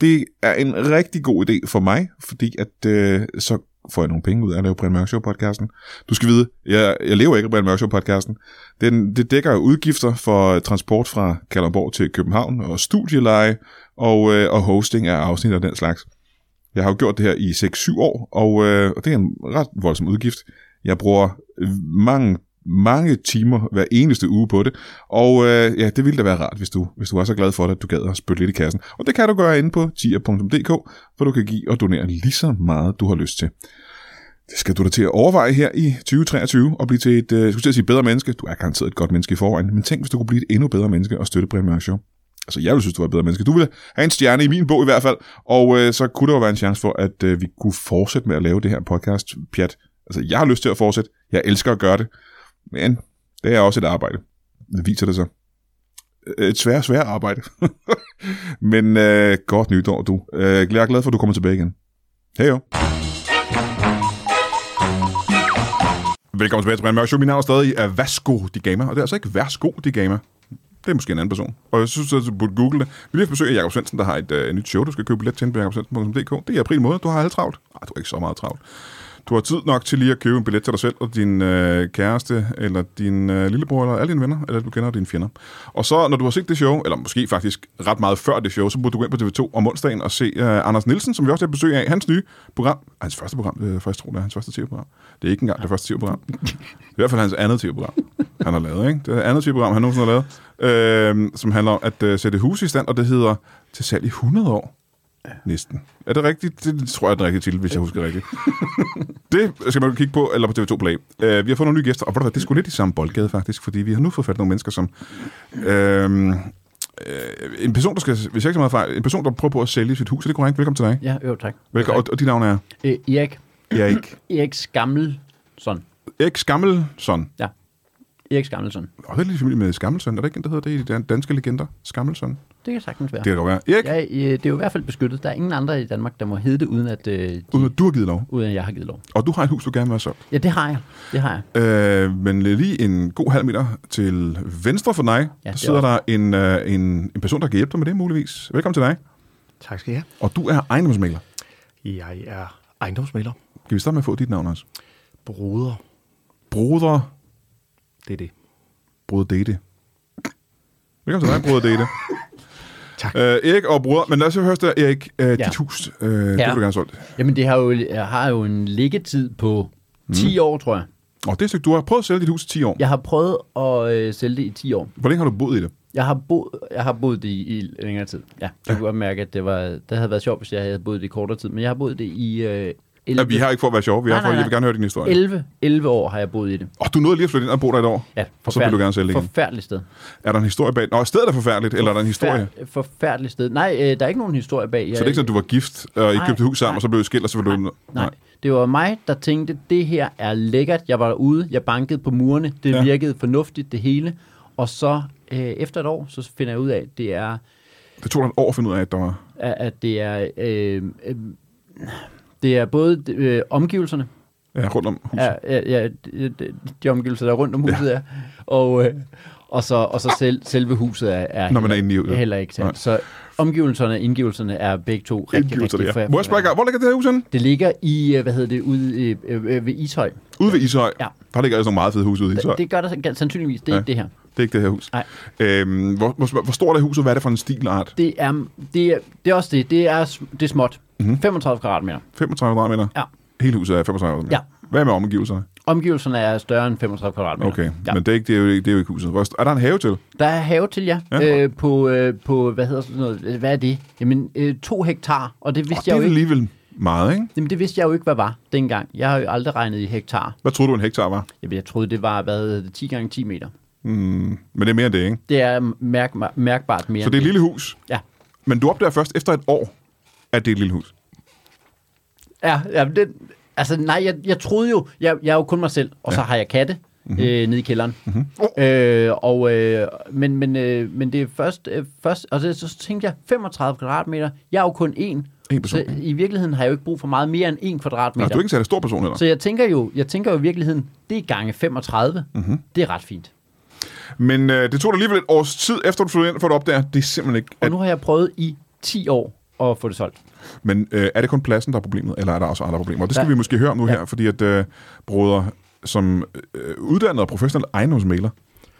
Det er en rigtig god idé for mig, fordi at øh, så får jeg nogle penge ud af at lave Brian Mørk Show podcasten. Du skal vide, jeg, jeg lever ikke af Brian Mørk Show podcasten. Den, det dækker udgifter for transport fra Kalundborg til København og studieleje og, øh, og hosting af afsnit og den slags. Jeg har jo gjort det her i 6-7 år, og, øh, og det er en ret voldsom udgift. Jeg bruger mange, mange timer hver eneste uge på det, og øh, ja, det ville da være rart, hvis du, hvis du var så glad for det, at du gad at spytte lidt i kassen. Og det kan du gøre inde på tier.dk, hvor du kan give og donere lige så meget, du har lyst til. Det skal du da til at overveje her i 2023 og blive til et, øh, jeg skulle til at sige bedre menneske. Du er garanteret et godt menneske i forvejen, men tænk, hvis du kunne blive et endnu bedre menneske og støtte Brian Mørk Show. Altså, jeg ville synes, du var et bedre menneske. Du ville have en stjerne i min bog i hvert fald, og øh, så kunne der jo være en chance for, at øh, vi kunne fortsætte med at lave det her podcast, pjat. Altså, jeg har lyst til at fortsætte. Jeg elsker at gøre det. Men det er også et arbejde. Det viser det så. Øh, Et svært, svært arbejde. men øh, godt nytår, du. Øh, jeg er glad for, at du kommer tilbage igen. Hej jo. Velkommen tilbage til Brian Mørk Show. Mit navn er stadig er Vasco de Gama, og det er altså ikke Værsgo de Gama. Det er måske en anden person. Og jeg synes, at du burde google det. Vi vil besøge Jakob Svendsen, der har et øh, nyt show, du skal købe billet til inde på jakobsvendsen.dk. Det er i april måned. Du har halvt travlt. Ej, du har ikke så meget travlt. Du har tid nok til lige at købe en billet til dig selv og din øh, kæreste, eller din øh, lillebror, eller alle dine venner, eller du kender og dine fjender. Og så, når du har set det show, eller måske faktisk ret meget før det show, så burde du gå ind på TV2 om onsdagen og se øh, Anders Nielsen, som vi også har besøg af, hans nye program. Hans første program, øh, det er først, tror, det er hans første TV-program. Det er ikke engang det første TV-program. Det er i hvert fald hans andet TV-program, han har lavet. Ikke? Det er andet TV-program, han nogensinde har lavet, øh, som handler om at øh, sætte hus i stand, og det hedder Til salg i 100 år. Næsten. Er det rigtigt? Det tror jeg er den rigtige titel, hvis jeg husker rigtigt. Det skal man jo kigge på, eller på TV2 Play. Uh, vi har fået nogle nye gæster, og ved du hvad, det er sgu lidt i samme boldgade faktisk, fordi vi har nu fået fat i nogle mennesker, som... Uh, uh, en person, der skal, hvis jeg ikke så meget fejl, en person, der prøver på at sælge sit hus, er det korrekt? Velkommen til dig.
Ja, jo, tak.
Velkommen, og, og dit navn er
Øh, Erik,
Erik,
Erik Skammelsson.
Erik Skammelsson.
Ja. Erik Skammelsson.
Og det er lidt i familie med Skammelsson. Er der ikke en, der hedder det i de dan- danske legender? Skammelsson. Det
Det kan sagtens være.
kan det godt være. Erik, ja.
Ja, øh, det er jo i hvert fald beskyttet. Der er ingen andre i Danmark, der må hedde det, uden at, øh, de,
uden at du har givet lov.
uden at jeg har givet lov.
Og du har et hus, du gerne vil have solgt.
Ja, det har jeg. Det har jeg.
Øh, men lige en god halv meter til venstre for dig, ja, der
det
sidder
er
der en, øh, en, en person, der kan hjælpe dig med det muligvis. Velkommen til dig.
Tak skal I have.
Og du er ejendomsmægler.
Jeg er ejendomsmælder.
Kan vi starte med at få dit navn også?
Broder.
Broder,
Det er det.
broder Date. Velkommen til dig, broder Date.
Tak.
Øh, Erik og bror, men lad os jo høre der, Erik, øh, ja.
Ja.
dit hus, øh, ja. det vil
Ja.
du gerne solgt.
Jamen, det har jo, jeg har jo en liggetid på 10 år, tror jeg.
Og det er et stykke, du har prøvet at sælge dit hus i 10 år. Ja.
Jeg har prøvet at øh, sælge det i 10 år.
Hvor længe har du boet i det?
Jeg har, boet, jeg har boet det i, i længere tid. Ja, jeg kunne godt mærke, at det, var, det havde været sjovt, hvis jeg havde boet det i kortere tid. Men jeg har boet det i øh, 11,
Ja, vi har ikke for at være sjove, vi har
Nej,
for,
nej,
jeg vil
nej.
gerne høre din historie.
11, 11 år har jeg boet i det.
Og du nåede lige at flytte ind og bo der et år,
Ja,
og så vil du
forfærdeligt-
gerne sælge det igen.
Forfærdeligt sted.
Er der en historie bag? Nå, stedet er forfærdeligt, eller er der en historie?
Forfær- forfærdeligt sted. Nej, øh, der er ikke nogen historie bag. Jeg,
Så det er ikke sådan, at du var gift, øh, og I
Nej,
købte hus sammen,
nej.
og så blev I skilt, og så blev du...
Nej, det var mig, der tænkte, det her er lækkert. Jeg var derude, jeg bankede på murene, det
Ja.
ja. virkede fornuftigt, det hele. Og så øh, efter et år, så finder jeg ud af, at det er,
Det tog dig et år at finde ud af, at der var...
at at det er, øh, øh, det er både øh, omgivelserne,
Ja, rundt om huset.
ja, ja, ja, de, de- de omgivelser, der er rundt om huset ja. er, og, øh, og så, og så selv, selve huset er, er
Når man er
heller-
inde i huset.
heller ikke
Nej.
sandt. Så omgivelserne og indgivelserne er begge to rigtig,
Indgivelser,
rigtig
det er.
for-
Må jeg spørge, hvor ligger det her hus henne?
Det ligger i, øh, hvad hedder det, ude øh, øh, ved Ishøj.
Ude ved Ishøj.
Ja.
Der ligger altså nogle meget fede hus ude i Ishøj. Det,
Det gør der san- sandsynligvis, det er
Ja.
ja. ikke det her.
det er ikke det her hus.
Nej.
Øhm, hvor, hvor, hvor stort er huset? Hvad er det for en stilart?
Det er, det er, det er også det, det er, sm- det er småt.
Mhm.
Mm-hmm. 35 kvadratmeter.
35 kvadratmeter?
Ja.
Hele huset er 35 kvadratmeter?
Ja.
Hvad med omgivelserne?
Omgivelserne er større end 35 kvadratmeter.
Okay,
Ja.
ja. men det er, ikke, det, er jo, ikke- det er jo ikke huset. Hvor, er der en have til?
Der er have til jer
Ja.
ja. øh, på, øh, på, hvad hedder sådan noget, øh, hvad er det? Jamen, øh, to hektar, og det
Og
vidste
det
jeg
er
jo ikke.
alligevel meget, ikke?
Jamen, det vidste jeg jo ikke, hvad var dengang. Jeg har jo aldrig regnet i hektar.
Hvad troede du, en hektar var?
Jamen, jeg troede, det var, hvad hedder det, 10 gange 10 meter.
Mm, men det er mere end det, ikke?
Det er mærk- mærkbart mere
Så det er et
end
lille hus,
Ja.
men du opdager først efter et år, at det er et lille hus. Altså,
Ja, ja men det, altså nej, jeg, jeg troede jo, jeg, jeg er jo kun mig selv, og ja. så har jeg katte
Mhm.
mm-hmm. øh, nede i kælderen. Mm-hmm. Øh, og, øh, men, men, øh, men det er først, øh, først og så, så tænkte jeg, 35 kvadratmeter, jeg er jo kun én.
En person.
Så i virkeligheden har jeg jo ikke brug for meget mere end en
Nå,
kvadratmeter.
du er ikke en særlig stor person, eller?
Så jeg tænker jo, jeg tænker jo i virkeligheden, det er gange 35,
Mhm.
mm-hmm. det er ret fint.
Men øh, det tog dig alligevel et års tid, efter du flyttede ind, for at opdage, det er simpelthen ikke...
Og
At,
nu har jeg prøvet i 10 år at få det solgt.
men øh, er det kun pladsen, der er problemet, eller er der også andre problemer? Og det skal
Der-
vi måske høre om nu her, fordi at øh, broder, som øh, uddannet og professionel ejendomsmaler,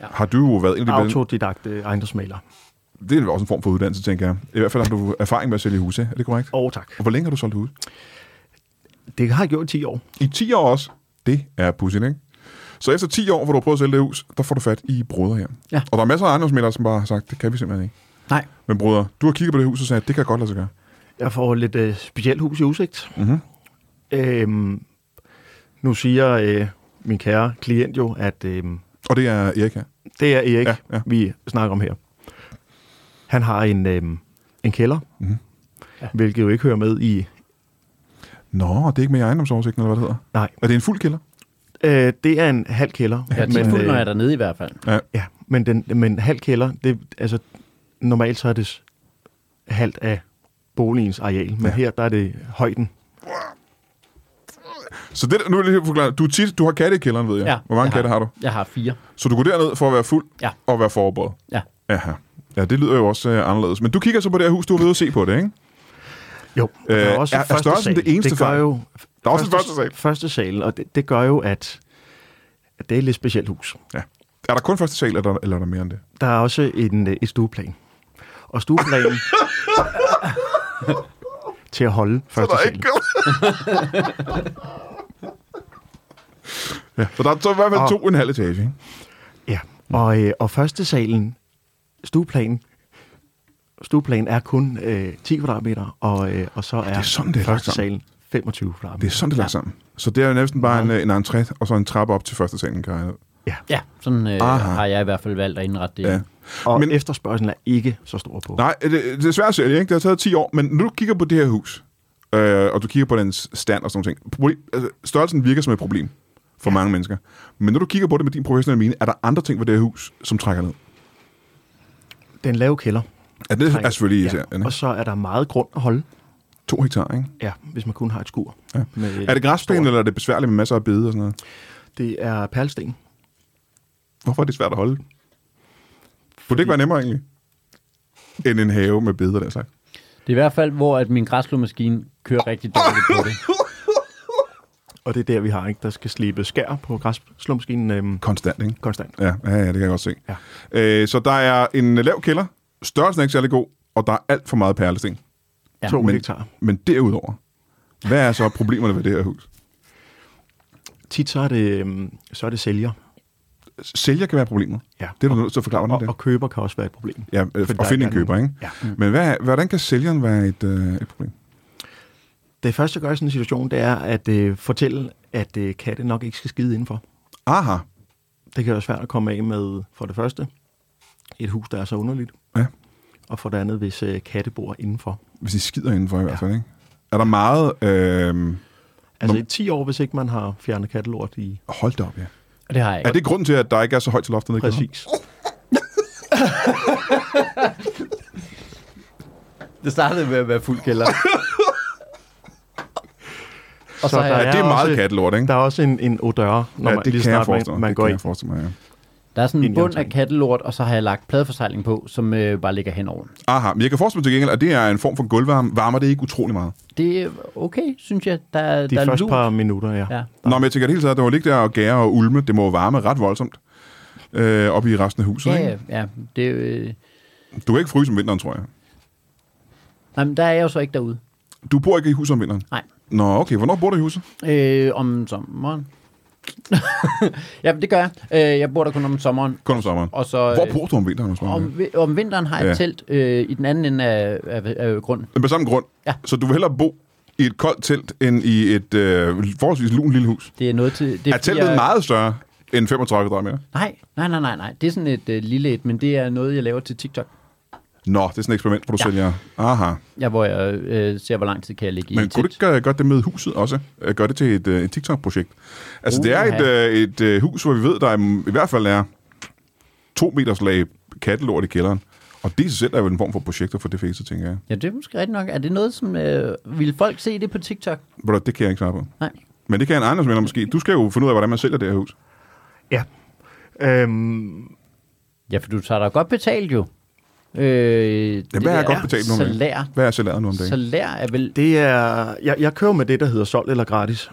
ja.
Ja.
har du jo været en af de bedste-
Autodidakt øh, ejendomsmæler.
Det er vel også en form for uddannelse, tænker jeg. I hvert fald har du erfaring med at sælge huse, er det korrekt?
Åh, oh, tak.
Og hvor længe har du solgt hus?
Det har jeg gjort i 10 år.
I 10 år også. Det er pudsigt, ikke? Så efter 10 år, hvor du har prøvet at sælge det hus, der får du fat i broder her.
Ja.
Og der er masser af ejendomsmældere, som bare har sagt, det kan vi simpelthen ikke.
Nej.
Men broder, du har kigget på det hus og sagt, det kan jeg godt lade sig gøre.
Jeg får lidt øh, specielt hus i udsigt. Mm-hmm. Øhm, nu siger øh, min kære klient jo, at øh,
Og det er Erik her.
det er Erik,
Ja,
ja,
ja.
ja. vi snakker om her. Han har en, øh, en kælder,
Mhm.
mm-hmm. hvilket jo ikke hører med i...
Nå, det er ikke med i ejendomsoversigten, eller hvad det hedder.
Nej,
Er det en fuld kælder?
øh, det er en halv kælder.
Jeg er tit fuld,
øh,
når jeg er dernede i hvert fald.
Ja, men, den, men halv kælder, det, altså, normalt så er det s- halvt af boligens areal, men
Ja.
ja. her der er det højden.
Så det, nu vil jeg lige forklare. Du, er tit, du har katte i kælderen, ved jeg.
Ja,
Hvor mange
jeg
katte har.
har
du?
Jeg har fire.
Så du går derned for at være fuld
Ja.
og være forberedt.
Ja.
Aha. Ja, det lyder jo også øh, anderledes. Men du kigger så på det her hus, du har ved at se på det, ikke?
Jo,
Øh,
der er også
er- er
første
størrelsen
sal.
det eneste
det gør
fejl?
jo,
Der er også en første sal.
Første sal, og det, det gør jo, at, at det er et lidt specielt hus.
Ja. Er der kun første sal, eller, eller er der mere end det?
Der er også en, øh, et stueplan. Og stueplanen til at holde første
der er
sal.
ikke... ja, så der er så i hvert fald
Og-
to og en halv etage, ikke?
Ja, og, øh, og første salen, stueplanen, stueplanen er kun øh, 10 kvadratmeter, og, øh, og så er,
er sådan, det er lagt
første
sammen.
salen 25
Det
kvadratmeter.
er sådan, det er lagt sammen. Så det er jo næsten bare en, øh, en entré, og så en trappe op til første salen, kan jeg regne ud.
Ja,
Ja, sådan øh,
Aha.
har jeg i hvert fald valgt at indrette det.
Ja.
og
Men-
men, efterspørgselen er ikke så stor på.
Nej, det, det er svært at sælge, ikke? Det har taget 10 år, men når du kigger på det her hus, øh, og du kigger på dens stand og sådan noget. Problem, altså, størrelsen virker som et problem for mange mennesker. Men når du kigger på det med din professionelle mine, er der andre ting ved det her hus, som trækker ned?
Den lave kælder.
Ja, det er
trækker-
selvfølgelig irriterende.
Og så er der meget grund at holde,
To hektar, ikke?
ja, hvis man kun har et skur.
Ja.
Med,
Er det græsplæne, eller er det besværligt med masser af bede og sådan noget?
Det er perlsten.
Hvorfor er det svært at holde? Kunne det ikke være nemmere egentlig? End en have med bede og den slags.
Det er i hvert fald, hvor at min græslåmaskine kører rigtig dårligt på det.
Og det er der, vi har, ikke? Der skal slibe skær på græsslåmaskinen øhm,
Konstant, ikke?
konstant.
Ja, ja, ja, det kan jeg godt se.
Ja.
Øh, så der er en lav kælder, størrelsen er ikke særlig god, og der er alt for meget perlesten.
Ja,
to
men-
hektar.
Men derudover, hvad er så problemerne ved det her hus?
Tit så er det, øhm, så er det sælger.
Sælger kan være problemet.
Ja.
Det er du nødt til at forklare, hvordan
Og,
det er.
og køber kan også være et problem.
Ja, øh,
fordi
og
der
finde en
ikke er
køber, ikke? Mm.
nogen- Ja.
Men hvad, hvordan kan sælgeren være et, øh, et problem?
Det første, jeg gør i sådan en situation, det er at øh, fortælle, at øh, katte nok ikke skal skide indenfor.
Aha,
Det kan være svært at komme af med, for det første, et hus, der er så underligt.
ja.
Og for det andet, hvis øh, katte bor indenfor.
Hvis de skider indenfor i hvert fald, ikke? Er der meget... Øh,
Altså i 10 år, hvis ikke man har fjernet kattelort i...
hold da op, ja.
Og det har jeg ikke.
Er det grunden til, at der ikke er så højt til loftet? nede i kælderen?
Præcis.
det startede med at være fuld kælder. og så
Så
har
der
Ja,
jeg,
det er
er
meget
også-
kattelort, ikke?
Der er også en, en odør, når
ja,
man,
det
lige
kan jeg
snart man,
forestille mig.
man
det
går
kan
ind.
jeg forestille mig, ja.
der er sådan en
Ind i
bund af
omtanken.
kattelort, og så har jeg lagt pladeforsejling på, som øh, bare ligger henover.
Aha, men jeg kan forestille mig til gengæld, at det er en form for gulvvarme. Varmer det ikke utrolig meget?
Det er okay, synes jeg. Der, er-
De
der er
første
lunt.
par minutter, ja. ja.
Ja.
Nå, men jeg tænker det hele taget, det var ligge der og gære og ulme. Det må jo varme ret voldsomt øh, op i resten af huset,
Ja,
ikke?
ja, ja. Det, er, øh...
Du kan ikke fryse om vinteren, tror jeg.
Nej, men der er jeg jo så ikke derude.
Du bor ikke i huset om vinteren?
Nej.
Nå, okay. Hvornår bor du i huset?
Øh, om sommeren. ja, det gør jeg. Øh, jeg bor der kun om sommeren.
Kun om sommeren.
Og så, øh,
Hvor bor du om vinteren? Hos om...
Om, vi- om vinteren har jeg
Mhm. Ja.
ja. telt øh, i den anden ende af, af, af grunden.
På samme grund.
Ja.
Så du vil hellere bo i et koldt telt, end i et øh, forholdsvis lun lille hus.
Det er noget til... Det
Er
fordi,
teltet
jeg-
meget større end 35 kvadratmeter?
Nej, nej, nej, nej, nej. Det er sådan et øh, lille et, men det er noget, jeg laver til TikTok.
Nå, det er sådan et eksperiment, hvor du ja.
Ja.
sælger. Aha.
Ja, hvor jeg øh, ser, hvor lang tid kan jeg ligge i
Men
et
kunne du
telt.
ikke gøre, gøre det med huset også? Øh, Gøre det til et, øh, et TikTok-projekt? Altså, det er et,
Uha.
øh, et øh, hus, hvor vi ved, der er, mm, i hvert fald er to meters lag kattelort i kælderen. Og det i sig selv er jo en form for projekter for det fæse, tænker jeg.
Ja, det er måske rigtigt nok. Er det noget, som... Øh, vil folk se det på TikTok?
Ved du hvad, Det kan jeg ikke svare på.
Nej.
Men det kan en ejendomsmælder måske. Du skal jo finde ud af, hvordan man sælger det her hus.
ja. Øhm,
Ja, for du tager dig godt betalt jo. Øh,
Ja,
det
hvad er
der
godt betalt nu om dagen?
Salær.
Hvad er salæret nu om dagen?
Salær er vel...
det er, jeg, jeg kører med det, der hedder solgt eller gratis.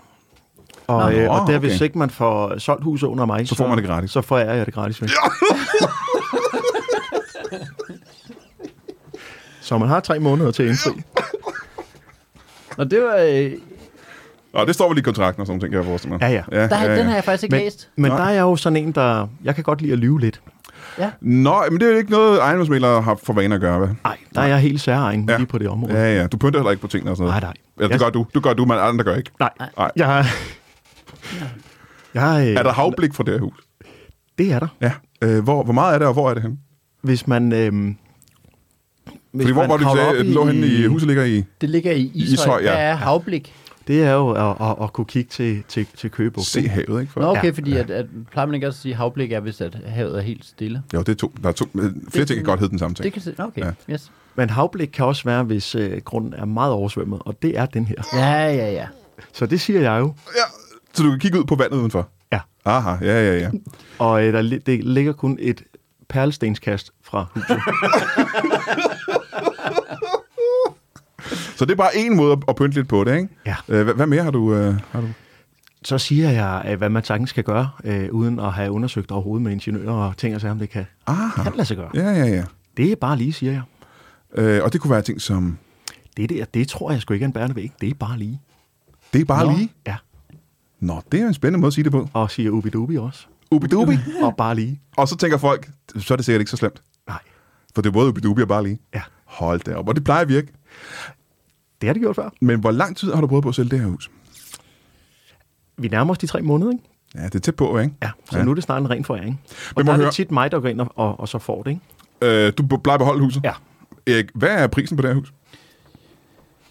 Nå,
Og,
Ah,
øh, og der,
okay.
hvis ikke man får solgt huset under mig,
Så får man det gratis.
Så får jeg, jeg det gratis. Ja. så man har tre måneder til at indfri.
Og det var... Øh,
Og det står vel i kontrakten og sådan nogle ting, kan jeg forestille mig.
Ja, ja.
ja,
der,
ja, ja.
Den har jeg faktisk ikke
Men,
læst.
men
Nej.
der er jeg jo sådan en, der... Jeg kan godt lide at lyve lidt.
Ja.
Nå, men det er jo ikke noget, ejendomsmælere har for vane at gøre, vel?
Nej, der er jeg helt særegen
Ja.
ja. lige på det område. Ja.
Ja, ja. Du pynter heller ikke på tingene og sådan noget.
Nej, nej.
Ja, det
Jeg-
gør du. Du gør du, men andre gør ikke.
Nej,
Nej.
jeg... jeg øh,
Er der havblik for det her hus?
Det er der.
Ja. Øh, hvor, hvor meget er det, og hvor er det henne?
Hvis man... Øh, hvis
Fordi hvor var det, du
kravler
sagde,
op
at den lå henne i huset ligger i?
Det ligger i Ishøj.
Ishøj, ja.
Der er havblik.
Det er jo at, at, at kunne kigge til, til, til Køgebuk.
Se havet, ikke? For?
Nå, okay,
Ja.
ja. fordi at, at, plejer man ikke også at sige, at havblik er, hvis at havet er helt stille?
Jo, det er to. Der er to. øh, Flere
Det-
ting kan godt hedde den samme ting.
Det kan se. Okay,
Ja.
ja. yes.
Men havblik kan også være, hvis øh, grunden er meget oversvømmet, og det er den her.
Ja, ja, ja.
Så det siger jeg jo.
Ja, så du kan kigge ud på vandet udenfor.
Ja.
Aha, ja, ja, ja.
Og øh, der, li- det ligger kun et perlestenskast fra huset.
Så det er bare en måde at- at pynte lidt på det, ikke?
Ja.
Øh, hvad, hvad mere har du? Øh, har du?
Så siger jeg, øh, hvad man sagtens skal gøre, øh, uden at have undersøgt overhovedet med ingeniører og ting og sager, om det kan,
Aha.
kan lade sig gøre.
Ja, ja, ja.
Det er bare lige, siger jeg.
Øh, og det kunne være ting som,
Det der, det tror jeg sgu ikke er en bærende væg. Det er bare lige.
det er bare Nå. lige.
Ja,
Nå, det er en spændende måde at sige det på.
og siger ubidubi også.
Ubidubi.
Og bare lige.
og så tænker folk, så er det sikkert ikke så slemt.
Nej,
For det er både ubidubi og bare lige.
ja.
Hold da op, og det plejer at virke.
Det har det gjort før.
Men hvor lang tid har du prøvet på at sælge det her hus?
Vi nærmer os de tre måneder, ikke?
Ja, det er tæt på, ikke?
Ja, så
Ja.
ja. nu er det snart en ren foræring.
Men
Og
må
der er
høre-
det tit mig, der går ind og, og, og så får det, ikke?
Øh, du plejer at beholde huset?
Ja.
Erik, hvad er prisen på det her hus?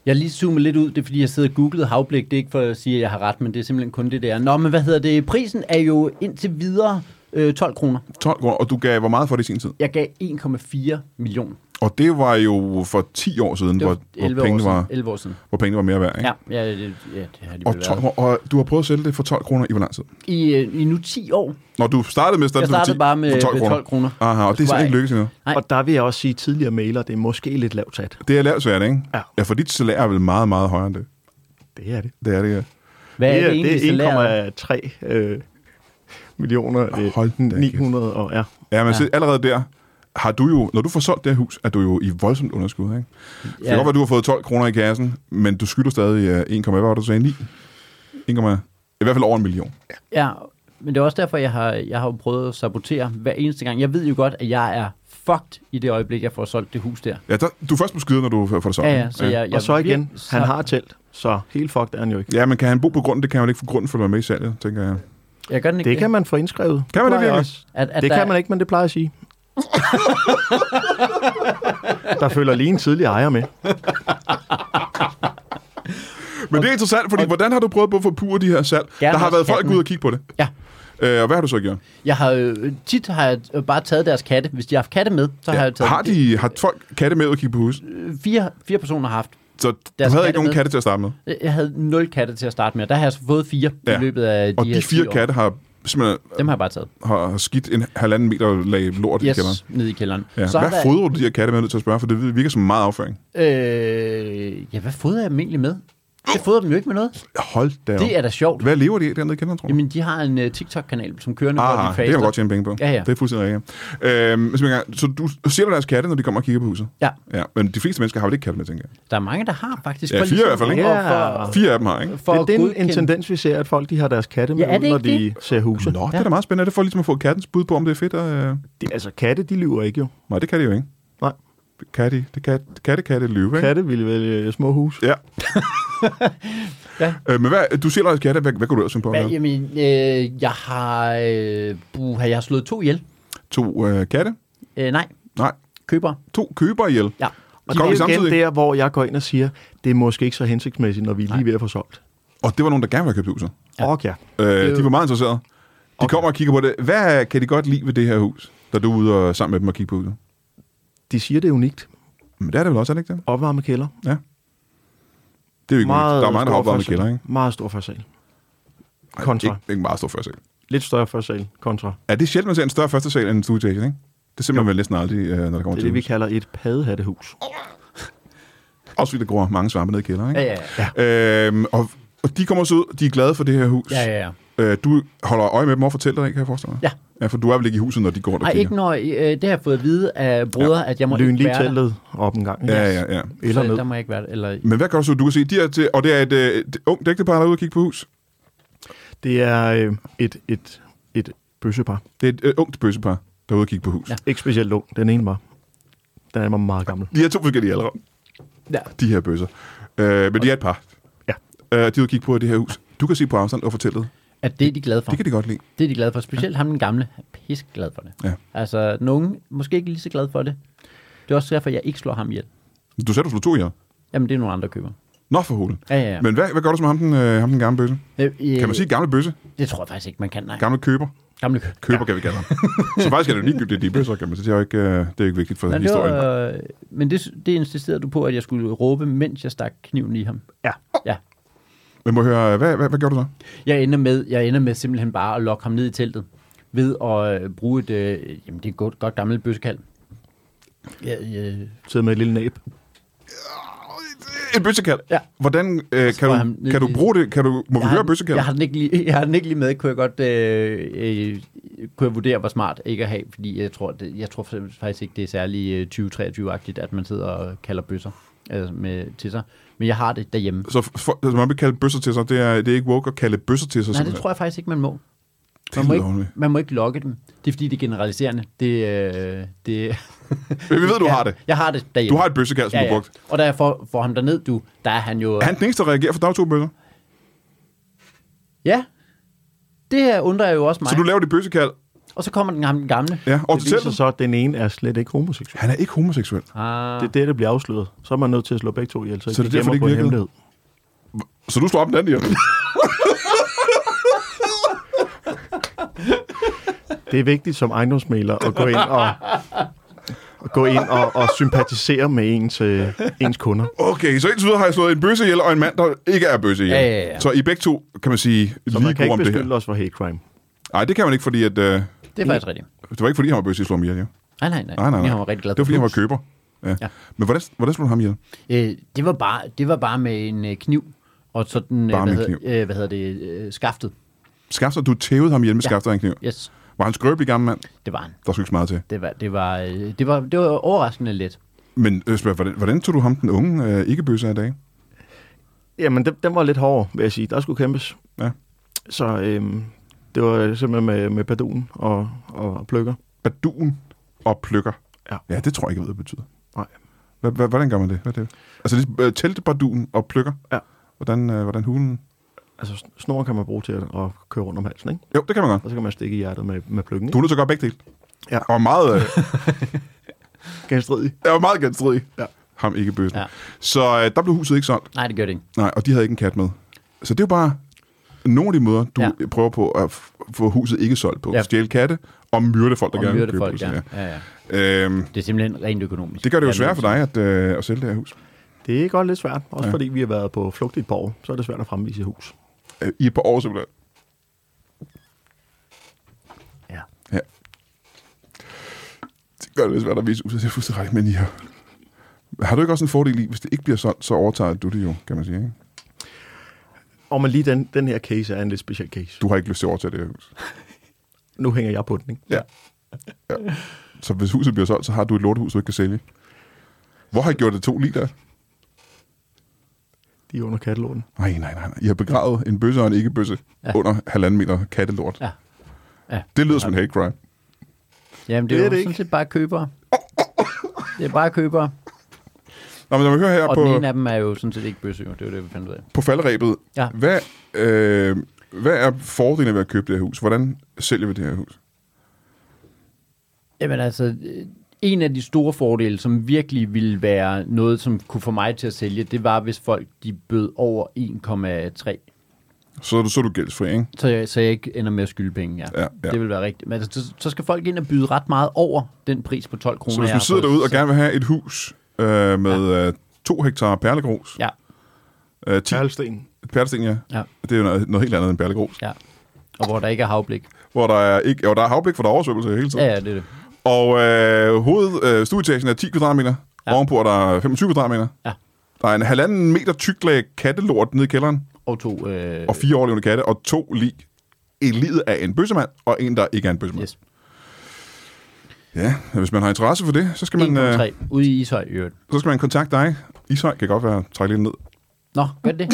Jeg har lige zoomet lidt ud, det er fordi, jeg sidder og googlede havblik. Det er ikke for at sige, at jeg har ret, men det er simpelthen kun det der. Nå, men hvad hedder det? Prisen er jo indtil videre øh, 12 kroner.
12 kroner, og du gav hvor meget for det i sin tid?
Jeg gav 1,4 million.
Og det var jo for 10 år siden,
Det
hvor,
var
hvor,
11 år,
pengene
siden.
var,
11 år siden.
hvor pengene var mere værd, ikke?
Ja, ja, det, ja, det har de
Og,
vel været.
12, og du har prøvet at sælge det for 12 kroner i hvor lang tid?
I, øh, I nu 10 år.
Når du startede med at starte
Jeg startede bare med,
for 12
med 12 kroner.
Aha, og det er
skulle
simpelthen ikke
jeg-
lykkedes endnu.
Nej.
Og der vil jeg også sige, at tidligere mailer, det er måske lidt lavt sat.
Det er lavt svært, ikke?
Ja.
ja, for dit salær er vel meget, meget højere end det.
Det er det.
Det er det, ja.
Hvad er det egentlig,
det
salæret?
er 1,3 øh, millioner. Øh,
Hold da kæft.
900 og ja.
Ja, men
Ja.
ja. allerede der har du jo, når du får solgt det her hus, er du jo i voldsomt underskud, ikke? Ja. Det kan
Ja.
godt være, at du har fået 12 kroner i kassen, men du skylder stadig øh, 1, hvad var det, du sagde, 9? 1, i hvert fald over en million.
Ja, men det er også derfor, jeg har, jeg har jo prøvet at sabotere hver eneste gang. Jeg ved jo godt, at jeg er fucked i det øjeblik, jeg får solgt det hus der.
Ja, der, du er først på skyder, når du får det solgt.
Ja,
ikke?
ja, så jeg, jeg
Og så igen,
vir-
han har telt, så helt fucked er han jo ikke.
ja, men kan han bo på grunden? Det kan han vel ikke få grunden for at være med i salget, tænker jeg.
Jeg gør den ikke
Det kan man få indskrevet.
Kan man det
plejer jeg
virkelig?
også.
At, at
Det
der,
kan man ikke, men det plejer jeg at sige. der følger lige en tidlig ejer med.
Men det er interessant, fordi hvordan har du prøvet på at forpure de her salg?
Gerne
der har
også
været folk
katten.
ude og kigge på det.
Ja.
Øh, og hvad har du så gjort?
Jeg har øh, tit har jeg øh, bare taget deres katte. Hvis de har haft katte med, så har jeg taget
har, de, har folk katte med ud og kigge på huset?
Øh, fire, fire personer har haft.
Så du
Deres
havde ikke
katte
nogen
med.
katte til at starte med?
Øh, Jeg havde nul katte til at starte med, og der har jeg så fået fire ja.
Ja.
i løbet af de
Og
her
de
10
fire
år.
katte har simpelthen
Dem har jeg bare taget.
har skidt en halvanden meter lag lort yes. i kælderen.
Yes, nede i kælderen.
Ja.
Så har
Hvad fodrer du de her katte med, Jeg er nødt til at spørge, for det virker som meget afføring.
Øh, ja, hvad fodrer jeg dem egentlig med? Jeg fodrer dem jo ikke med noget.
Hold da op.
Det er da sjovt.
Hvad lever de af dernede i kælderen, tror du?
Jamen, de har en uh, TikTok-kanal, som kører nu, hvor
ah,
de
det kan
faster.
man godt tjene penge på.
Ja, ja.
Det er fuldstændig rigtigt. Øhm, så, så du ser du deres katte, når de kommer og kigger på huset?
Ja,
Ja, men de fleste mennesker har jo ikke katte med, tænker jeg.
der er mange, der har faktisk.
Ja,
for
fire i hvert fald, ikke?
og For,
Fire af dem har, ikke?
for
det, det er en, en
godkende-
tendens, vi ser, at folk de har deres katte med,
Ja, er det
ud, når
ikke
de ser huset.
Nå, det er da meget spændende. Er Det for ligesom at få kattens bud på, om det er fedt. Og, øh...
Det, altså, katte, de lyver ikke jo.
Nej, det kan de jo ikke.
Nej,
Katte, det katte, katte, katte, løve, ikke?
katte ville vælge små hus.
Ja.
Ja.
Øh, men hvad, du ser deres katte. Hvad, hvad kunne du ellers finde på?
Hvad,
Hvad,
jamen, øh, jeg har... Øh, buha, jeg har slået to ihjel.
to øh, katte?
Øh, nej,
Nej,
køber.
to køber ihjel.
Ja.
Kom
Og det
vi
er jo igen
samtidig?
der, hvor jeg går ind og siger, det er måske ikke så hensigtsmæssigt, når vi er lige ved at få solgt.
Og det var nogen, der gerne ville have købt huset.
Ja. Okay.
Øh,
jo-
de var meget interesserede. De okay. kommer og kigger på det. Hvad kan de godt lide ved det her hus, da du er ude og, sammen med dem og kigge på huset?
De siger, det er unikt.
Men det er det vel også, er det ikke det?
Opvarme kælder.
Ja. Det er jo ikke meget
Meget
Der er mange, der har
stor
opvarmet
førsal.
kælder, ikke?
Meget stor førsal.
Ej,
Kontra.
Ikke, ikke meget stor første sal.
Lidt større førsal kontra.
Er det sjældent, man ser en større første sal end en studie ikke? Det er simpelthen vel næsten aldrig, øh, når der kommer
Det er
til
det, vi
hus.
kalder et paddehattehus.
Også fordi der gror mange svampe ned i kælderen, ikke?
Ja, ja, ja.
Øhm, og, og de kommer så ud, de er glade for det her hus.
Ja, ja, ja.
Øh, du holder øje med dem og fortæller dig, kan jeg forestille mig?
Ja.
ja. for du er vel ikke i huset, når de går der
Ej,
kigger?
ikke når... Øh, det har jeg fået at vide af brødre, ja. at jeg må
Lyn
ikke
lige
være der.
teltet op en gang.
Ja, ja, ja.
Eller
så,
ned.
Der må jeg ikke være der. Eller,
Men hvad gør du så? Du kan se, de er til, og det er et, øh, et ungt ægtepar, der er ude og kigge på hus.
Det er øh, et, et, et bøssepar.
Det er et øh, ungt bøssepar, der er ude og kigge på hus. Ja.
Ja.
Ikke specielt ung. Den ene var. Den anden var meget gammel.
De er to forskellige aldre,
ja.
de her bøsser. Øh, men de er et par.
Ja.
Øh, de er ude og kigge på det her hus. Du kan se på afstand og fortælle det.
At det er de glade for.
Det kan de godt lide.
Det er de glade for. Specielt ham, den gamle, er pisse glad for det.
Ja.
Altså, nogen måske ikke lige så glad for det. Det er også derfor, jeg ikke slår ham ihjel.
Du sagde, du slog to ihjel.
Jamen, det er nogle andre, der køber.
Nå for hulen.
Ja, ja, ja.
Men hvad, hvad gør du så med ham den, øh, ham den gamle bøsse?
øh, øh,
Kan man sige gamle bøsse?
Det tror jeg faktisk ikke, man kan. Nej.
Gamle køber?
Gamle kø.
Køber ja. kan vi kalde ham. så faktisk er det jo ligegyldigt, at de er bøsser, kan man sige. Det er jo ikke, øh, det er jo ikke vigtigt for
Nej, det
historien.
var, øh, men det, det insisterede du på, at jeg skulle råbe, mens jeg stak kniven i ham.
Ja.
Ja.
Men må jeg høre, hvad, hvad, hvad gør du så?
Jeg ender med, jeg ender med simpelthen bare at lokke ham ned i teltet ved at øh, bruge et, øh, jamen det er et godt, godt gammelt bøssekald. Ja, øh,
Sidder med et lille næb.
En bøssekat?
Ja.
Hvordan øh, kan,
tror
du,
jeg, han-
kan du bruge det? Kan du, må vi
jeg,
høre
har,
bøssekat?
jeg, har den ikke lige, jeg har den ikke lige med, kunne jeg godt øh, øh, kunne jeg vurdere, hvor smart ikke at have, fordi jeg tror, det, jeg tror faktisk ikke, det er særlig øh, 2023-agtigt, at man sidder og kalder bøsser øh, med, til sig. Men jeg har det derhjemme.
Så for, altså, man vil kalde bøsser til sig. Det er, det er ikke woke at kalde bøsser til sig.
Nej, det tror jeg faktisk ikke, man må.
Det
Man må,
lyder ordentligt.
ikke, man må ikke lokke dem. Det er fordi, det er generaliserende. Det, øh, det,
Men vi ved, du
Ja,
har det.
Jeg har det derhjemme.
Du har et bøssekald, som du har brugt.
Og da jeg får, får ham derned, du, der er han jo...
Er han den eneste, der reagerer, for der er jo to bøsser.
Ja. Det her undrer jeg jo også mig.
Så du laver dit bøssekald,
Og så kommer den, ham, den gamle.
ja, og
det
til
viser
teltet.
så, at den ene er slet ikke homoseksuel.
Han er ikke homoseksuel.
Ah,
Det er det, der bliver afsløret. Så er man nødt til at slå begge to ihjel, så,
Så
så
det
det
er
de
derfor,
gemmer
det
på en
ikke virkede?
hemmelighed.
Så du slår op den anden ihjel.
Det er vigtigt som ejendomsmaler at gå ind og at gå ind og, og sympatisere med ens, øh, ens kunder.
Okay, så indtil videre har jeg slået en bøsse ihjel og en mand, der ikke er bøsse ihjel.
Ja, ja, ja.
Så I begge to, kan man sige,
Så
lige
man kan
gode om
ikke
det her.
beskylde os for hate crime.
Nej, det kan man ikke, fordi at, øh,
Det er faktisk rigtigt.
det var ikke fordi, han var bøsse, I slog ham ihjel, ja.
Nej, nej, nej.
Nej, nej, nej.
Jeg var rigtig glad
Det var fordi, han var
Bruce.
køber. Ja. ja.
Ja.
Men hvordan, hvordan slog du ham ihjel?
Øh, det, var bare, det var bare med en øh, kniv, og sådan,
Bare
øh,
med
hvad,
en
hedder, øh, hvad hedder det, øh, skaftet.
Skafter, du tævede ham ihjel med ja.
Ja.
skafter og en kniv.
Yes,
Var han en skrøbelig gammel mand?
det var han.
Der skulle ikke så meget til.
Det var, det var, øh, det var, det var overraskende let.
Men øh, spørg, hvordan, hvordan tog du ham, den unge øh, ikke-bøsse af dag?
Jamen, den, den var lidt hård, vil jeg sige. Der skulle kæmpes.
Ja.
Så øhm, det var simpelthen med, med padun og, og pløkker.
Baduen og pløkker.
Ja.
ja, det tror jeg ikke, jeg ved, hvad det betyder.
Nej.
Hva- hva- Hvordan gør man det? Hvad er det? Altså, det er, øh, teltbaduen og pløkker.
Ja.
Hvordan, øh, hvordan hulen?
Altså, snoren kan man bruge til at, at køre rundt om halsen, ikke?
Jo, det kan man godt.
Og så kan man stikke i hjertet med, med pløkken,
Du
ikke?
er nødt til at gøre begge dele.
Ja.
Og meget, øh,
Genstridig.
jeg var meget genstridig.
Ja.
Ham ikke bøssen. Ja.
Ja.
Så øh, der blev huset ikke solgt.
Nej, det gør det ikke.
Nej, og de havde ikke en kat med. Så det er jo bare nogle af de måder, du ja.
Ja.
prøver på at f- få huset ikke solgt på. Ja.
Ja.
Stjæle katte og myrde folk, der
Og
gerne vil
myrde
købe
folk,
huset.
ja. ja, ja.
ja. Øhm,
Det er simpelthen rent økonomisk.
det gør det jo
Ja,
svært for dig at, øh, at sælge det her hus.
Det er godt lidt svært, også
Ja.
ja. fordi vi har været på flugt i et par år, så er det svært at fremvise et hus.
Øh, I et par år simpelthen.
Ja.
Ja. Det gør det lidt svært at vise huset. Det er fuldstændig rigtigt, men I har... Har du ikke også en fordel i, hvis det ikke bliver solgt, så overtager du det jo, kan man sige. Ikke?
Og men lige den, den her case er en lidt speciel case.
Du har ikke lyst til at overtage det her hus.
Nu hænger jeg på den, ikke?
Ja. ja. Så hvis huset bliver solgt, så har du et lortehus, du ikke kan sælge. Hvor har I gjort det to liter?
De er under kattelåden.
Nej, nej, nej. nej. I har begravet en bøsse og en ikke-bøsse ja.
Ja.
under halvanden meter kattelort. Ja.
Ja. ja.
Det lyder som en hate crime.
Jamen, det, det
Det er
er jo
det
sådan
ikke.
set bare købere. Det er bare købere.
Nå, men når man hører her
Og den ene
på,
af dem er jo sådan set ikke bøsse, jo. Det er jo det, vi fandt ud af.
på faldrebet,
Ja.
hvad, øh, hvad er fordelen ved at købe det her hus? Hvordan sælger vi det her hus?
Jamen altså, øh, en af de store fordele, som virkelig ville være noget, som kunne få mig til at sælge, det var, hvis folk de bød over 1,3.
Så er du, så er du gældsfri, ikke?
Så jeg, så jeg ikke ender med at skylde penge, ja.
Ja, ja.
Det vil være rigtigt. Men altså, så, så skal folk ind og byde ret meget over den pris på 12 kroner.
Så hvis
jeg
du
har
sidder
fået,
derude og
så-
gerne vil have et hus øh, med øh, to hektar perlegrus,
Ja,
øh, 10
Perlsten.
perlesten, ja.
ja,
Det er jo noget, noget helt andet end perlegrus.
ja. Og hvor der ikke er havblik.
Hvor der er, ikke, jo, der er havblik, for der er oversvømmelse hele tiden.
Ja, ja, det er det.
Og øh, hoved, øh, stueetagen er 10 kvadratmeter. Ja.
Ja.
Ovenpå er der 25 kvadratmeter.
Ja.
Der er en halvanden meter tyk lag kattelort nede i kælderen,
Og to... Øh,
og fire overlevende katte, og to lig. Et lid af en bøssemand, og en, der ikke er en bøssemand. Yes.
yes.
Ja, og hvis man har interesse for det, så skal man, øh,
1,3. Ude i Ishøj, i øvrigt.
så skal man kontakte dig. Ishøj kan godt være trække lidt ned.
Nå, gør det.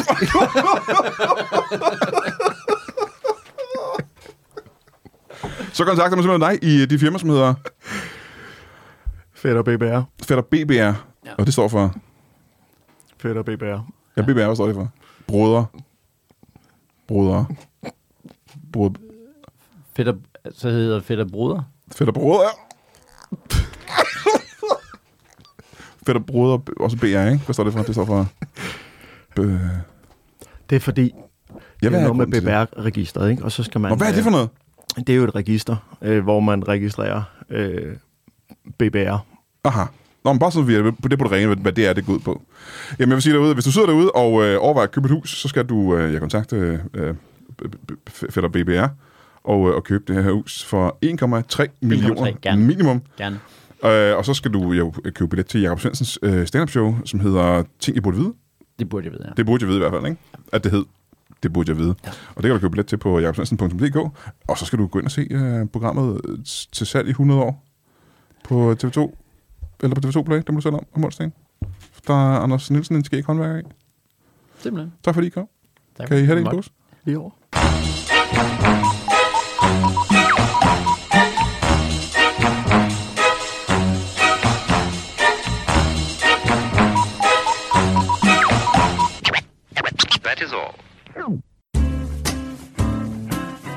Så kontakter man simpelthen dig i øh, de firma, som hedder
Fedt og BBR.
Fætter BBR, ja.
Ja.
og det står for...
Fedt og BBR.
Ja, BBR, hvad står det for? Broder. Broder. Broder.
Fedt og, så hedder Fedt og Bruder.
Fætter Broder. Fætter Broder, b- også BR, ikke? Hvad står det for? Det står for... øh, B-
Det er fordi,
ja,
jeg det
hvad,
er
er
noget med
grunden til det?
BBR-registeret, ikke? Og så skal man... øh,
Nå, hvad er det for noget?
Det er jo et register, øh, hvor man registrerer øh, BBR.
Aha. Nå, men bare så vi er på det på det rene, hvad- hvad det er, det går ud på. Jamen, jeg vil sige derude, hvis du sidder derude og øh, overvejer at købe et hus, så skal du øh, ja, kontakte øh, b- b- b- fætter BBR og, øh, og købe det her hus for 1,3 millioner
gerne.
minimum.
Gerne.
Øh, og så skal du jo købe billet til Jakob Svendsens øh, stand-up show, som hedder Ting, I burde vide.
Det burde jeg vide, ja.
Det burde jeg vide i hvert fald, ikke? At det hed. Det burde jeg vide. Ja. Og det kan du købe billet til på jakobsvensen.dk. Og så skal du gå ind og se øh, programmet øh, s- til salg i 100 år på TV2. Eller på TV2 Play, det må du selv om, om onsdagen. Der er Anders Nielsen en skæg håndværker i.
Simpelthen.
Tak fordi I kom.
Tak.
Kan I have det i en
Måtte.
dåse?
Lige over.
That is all.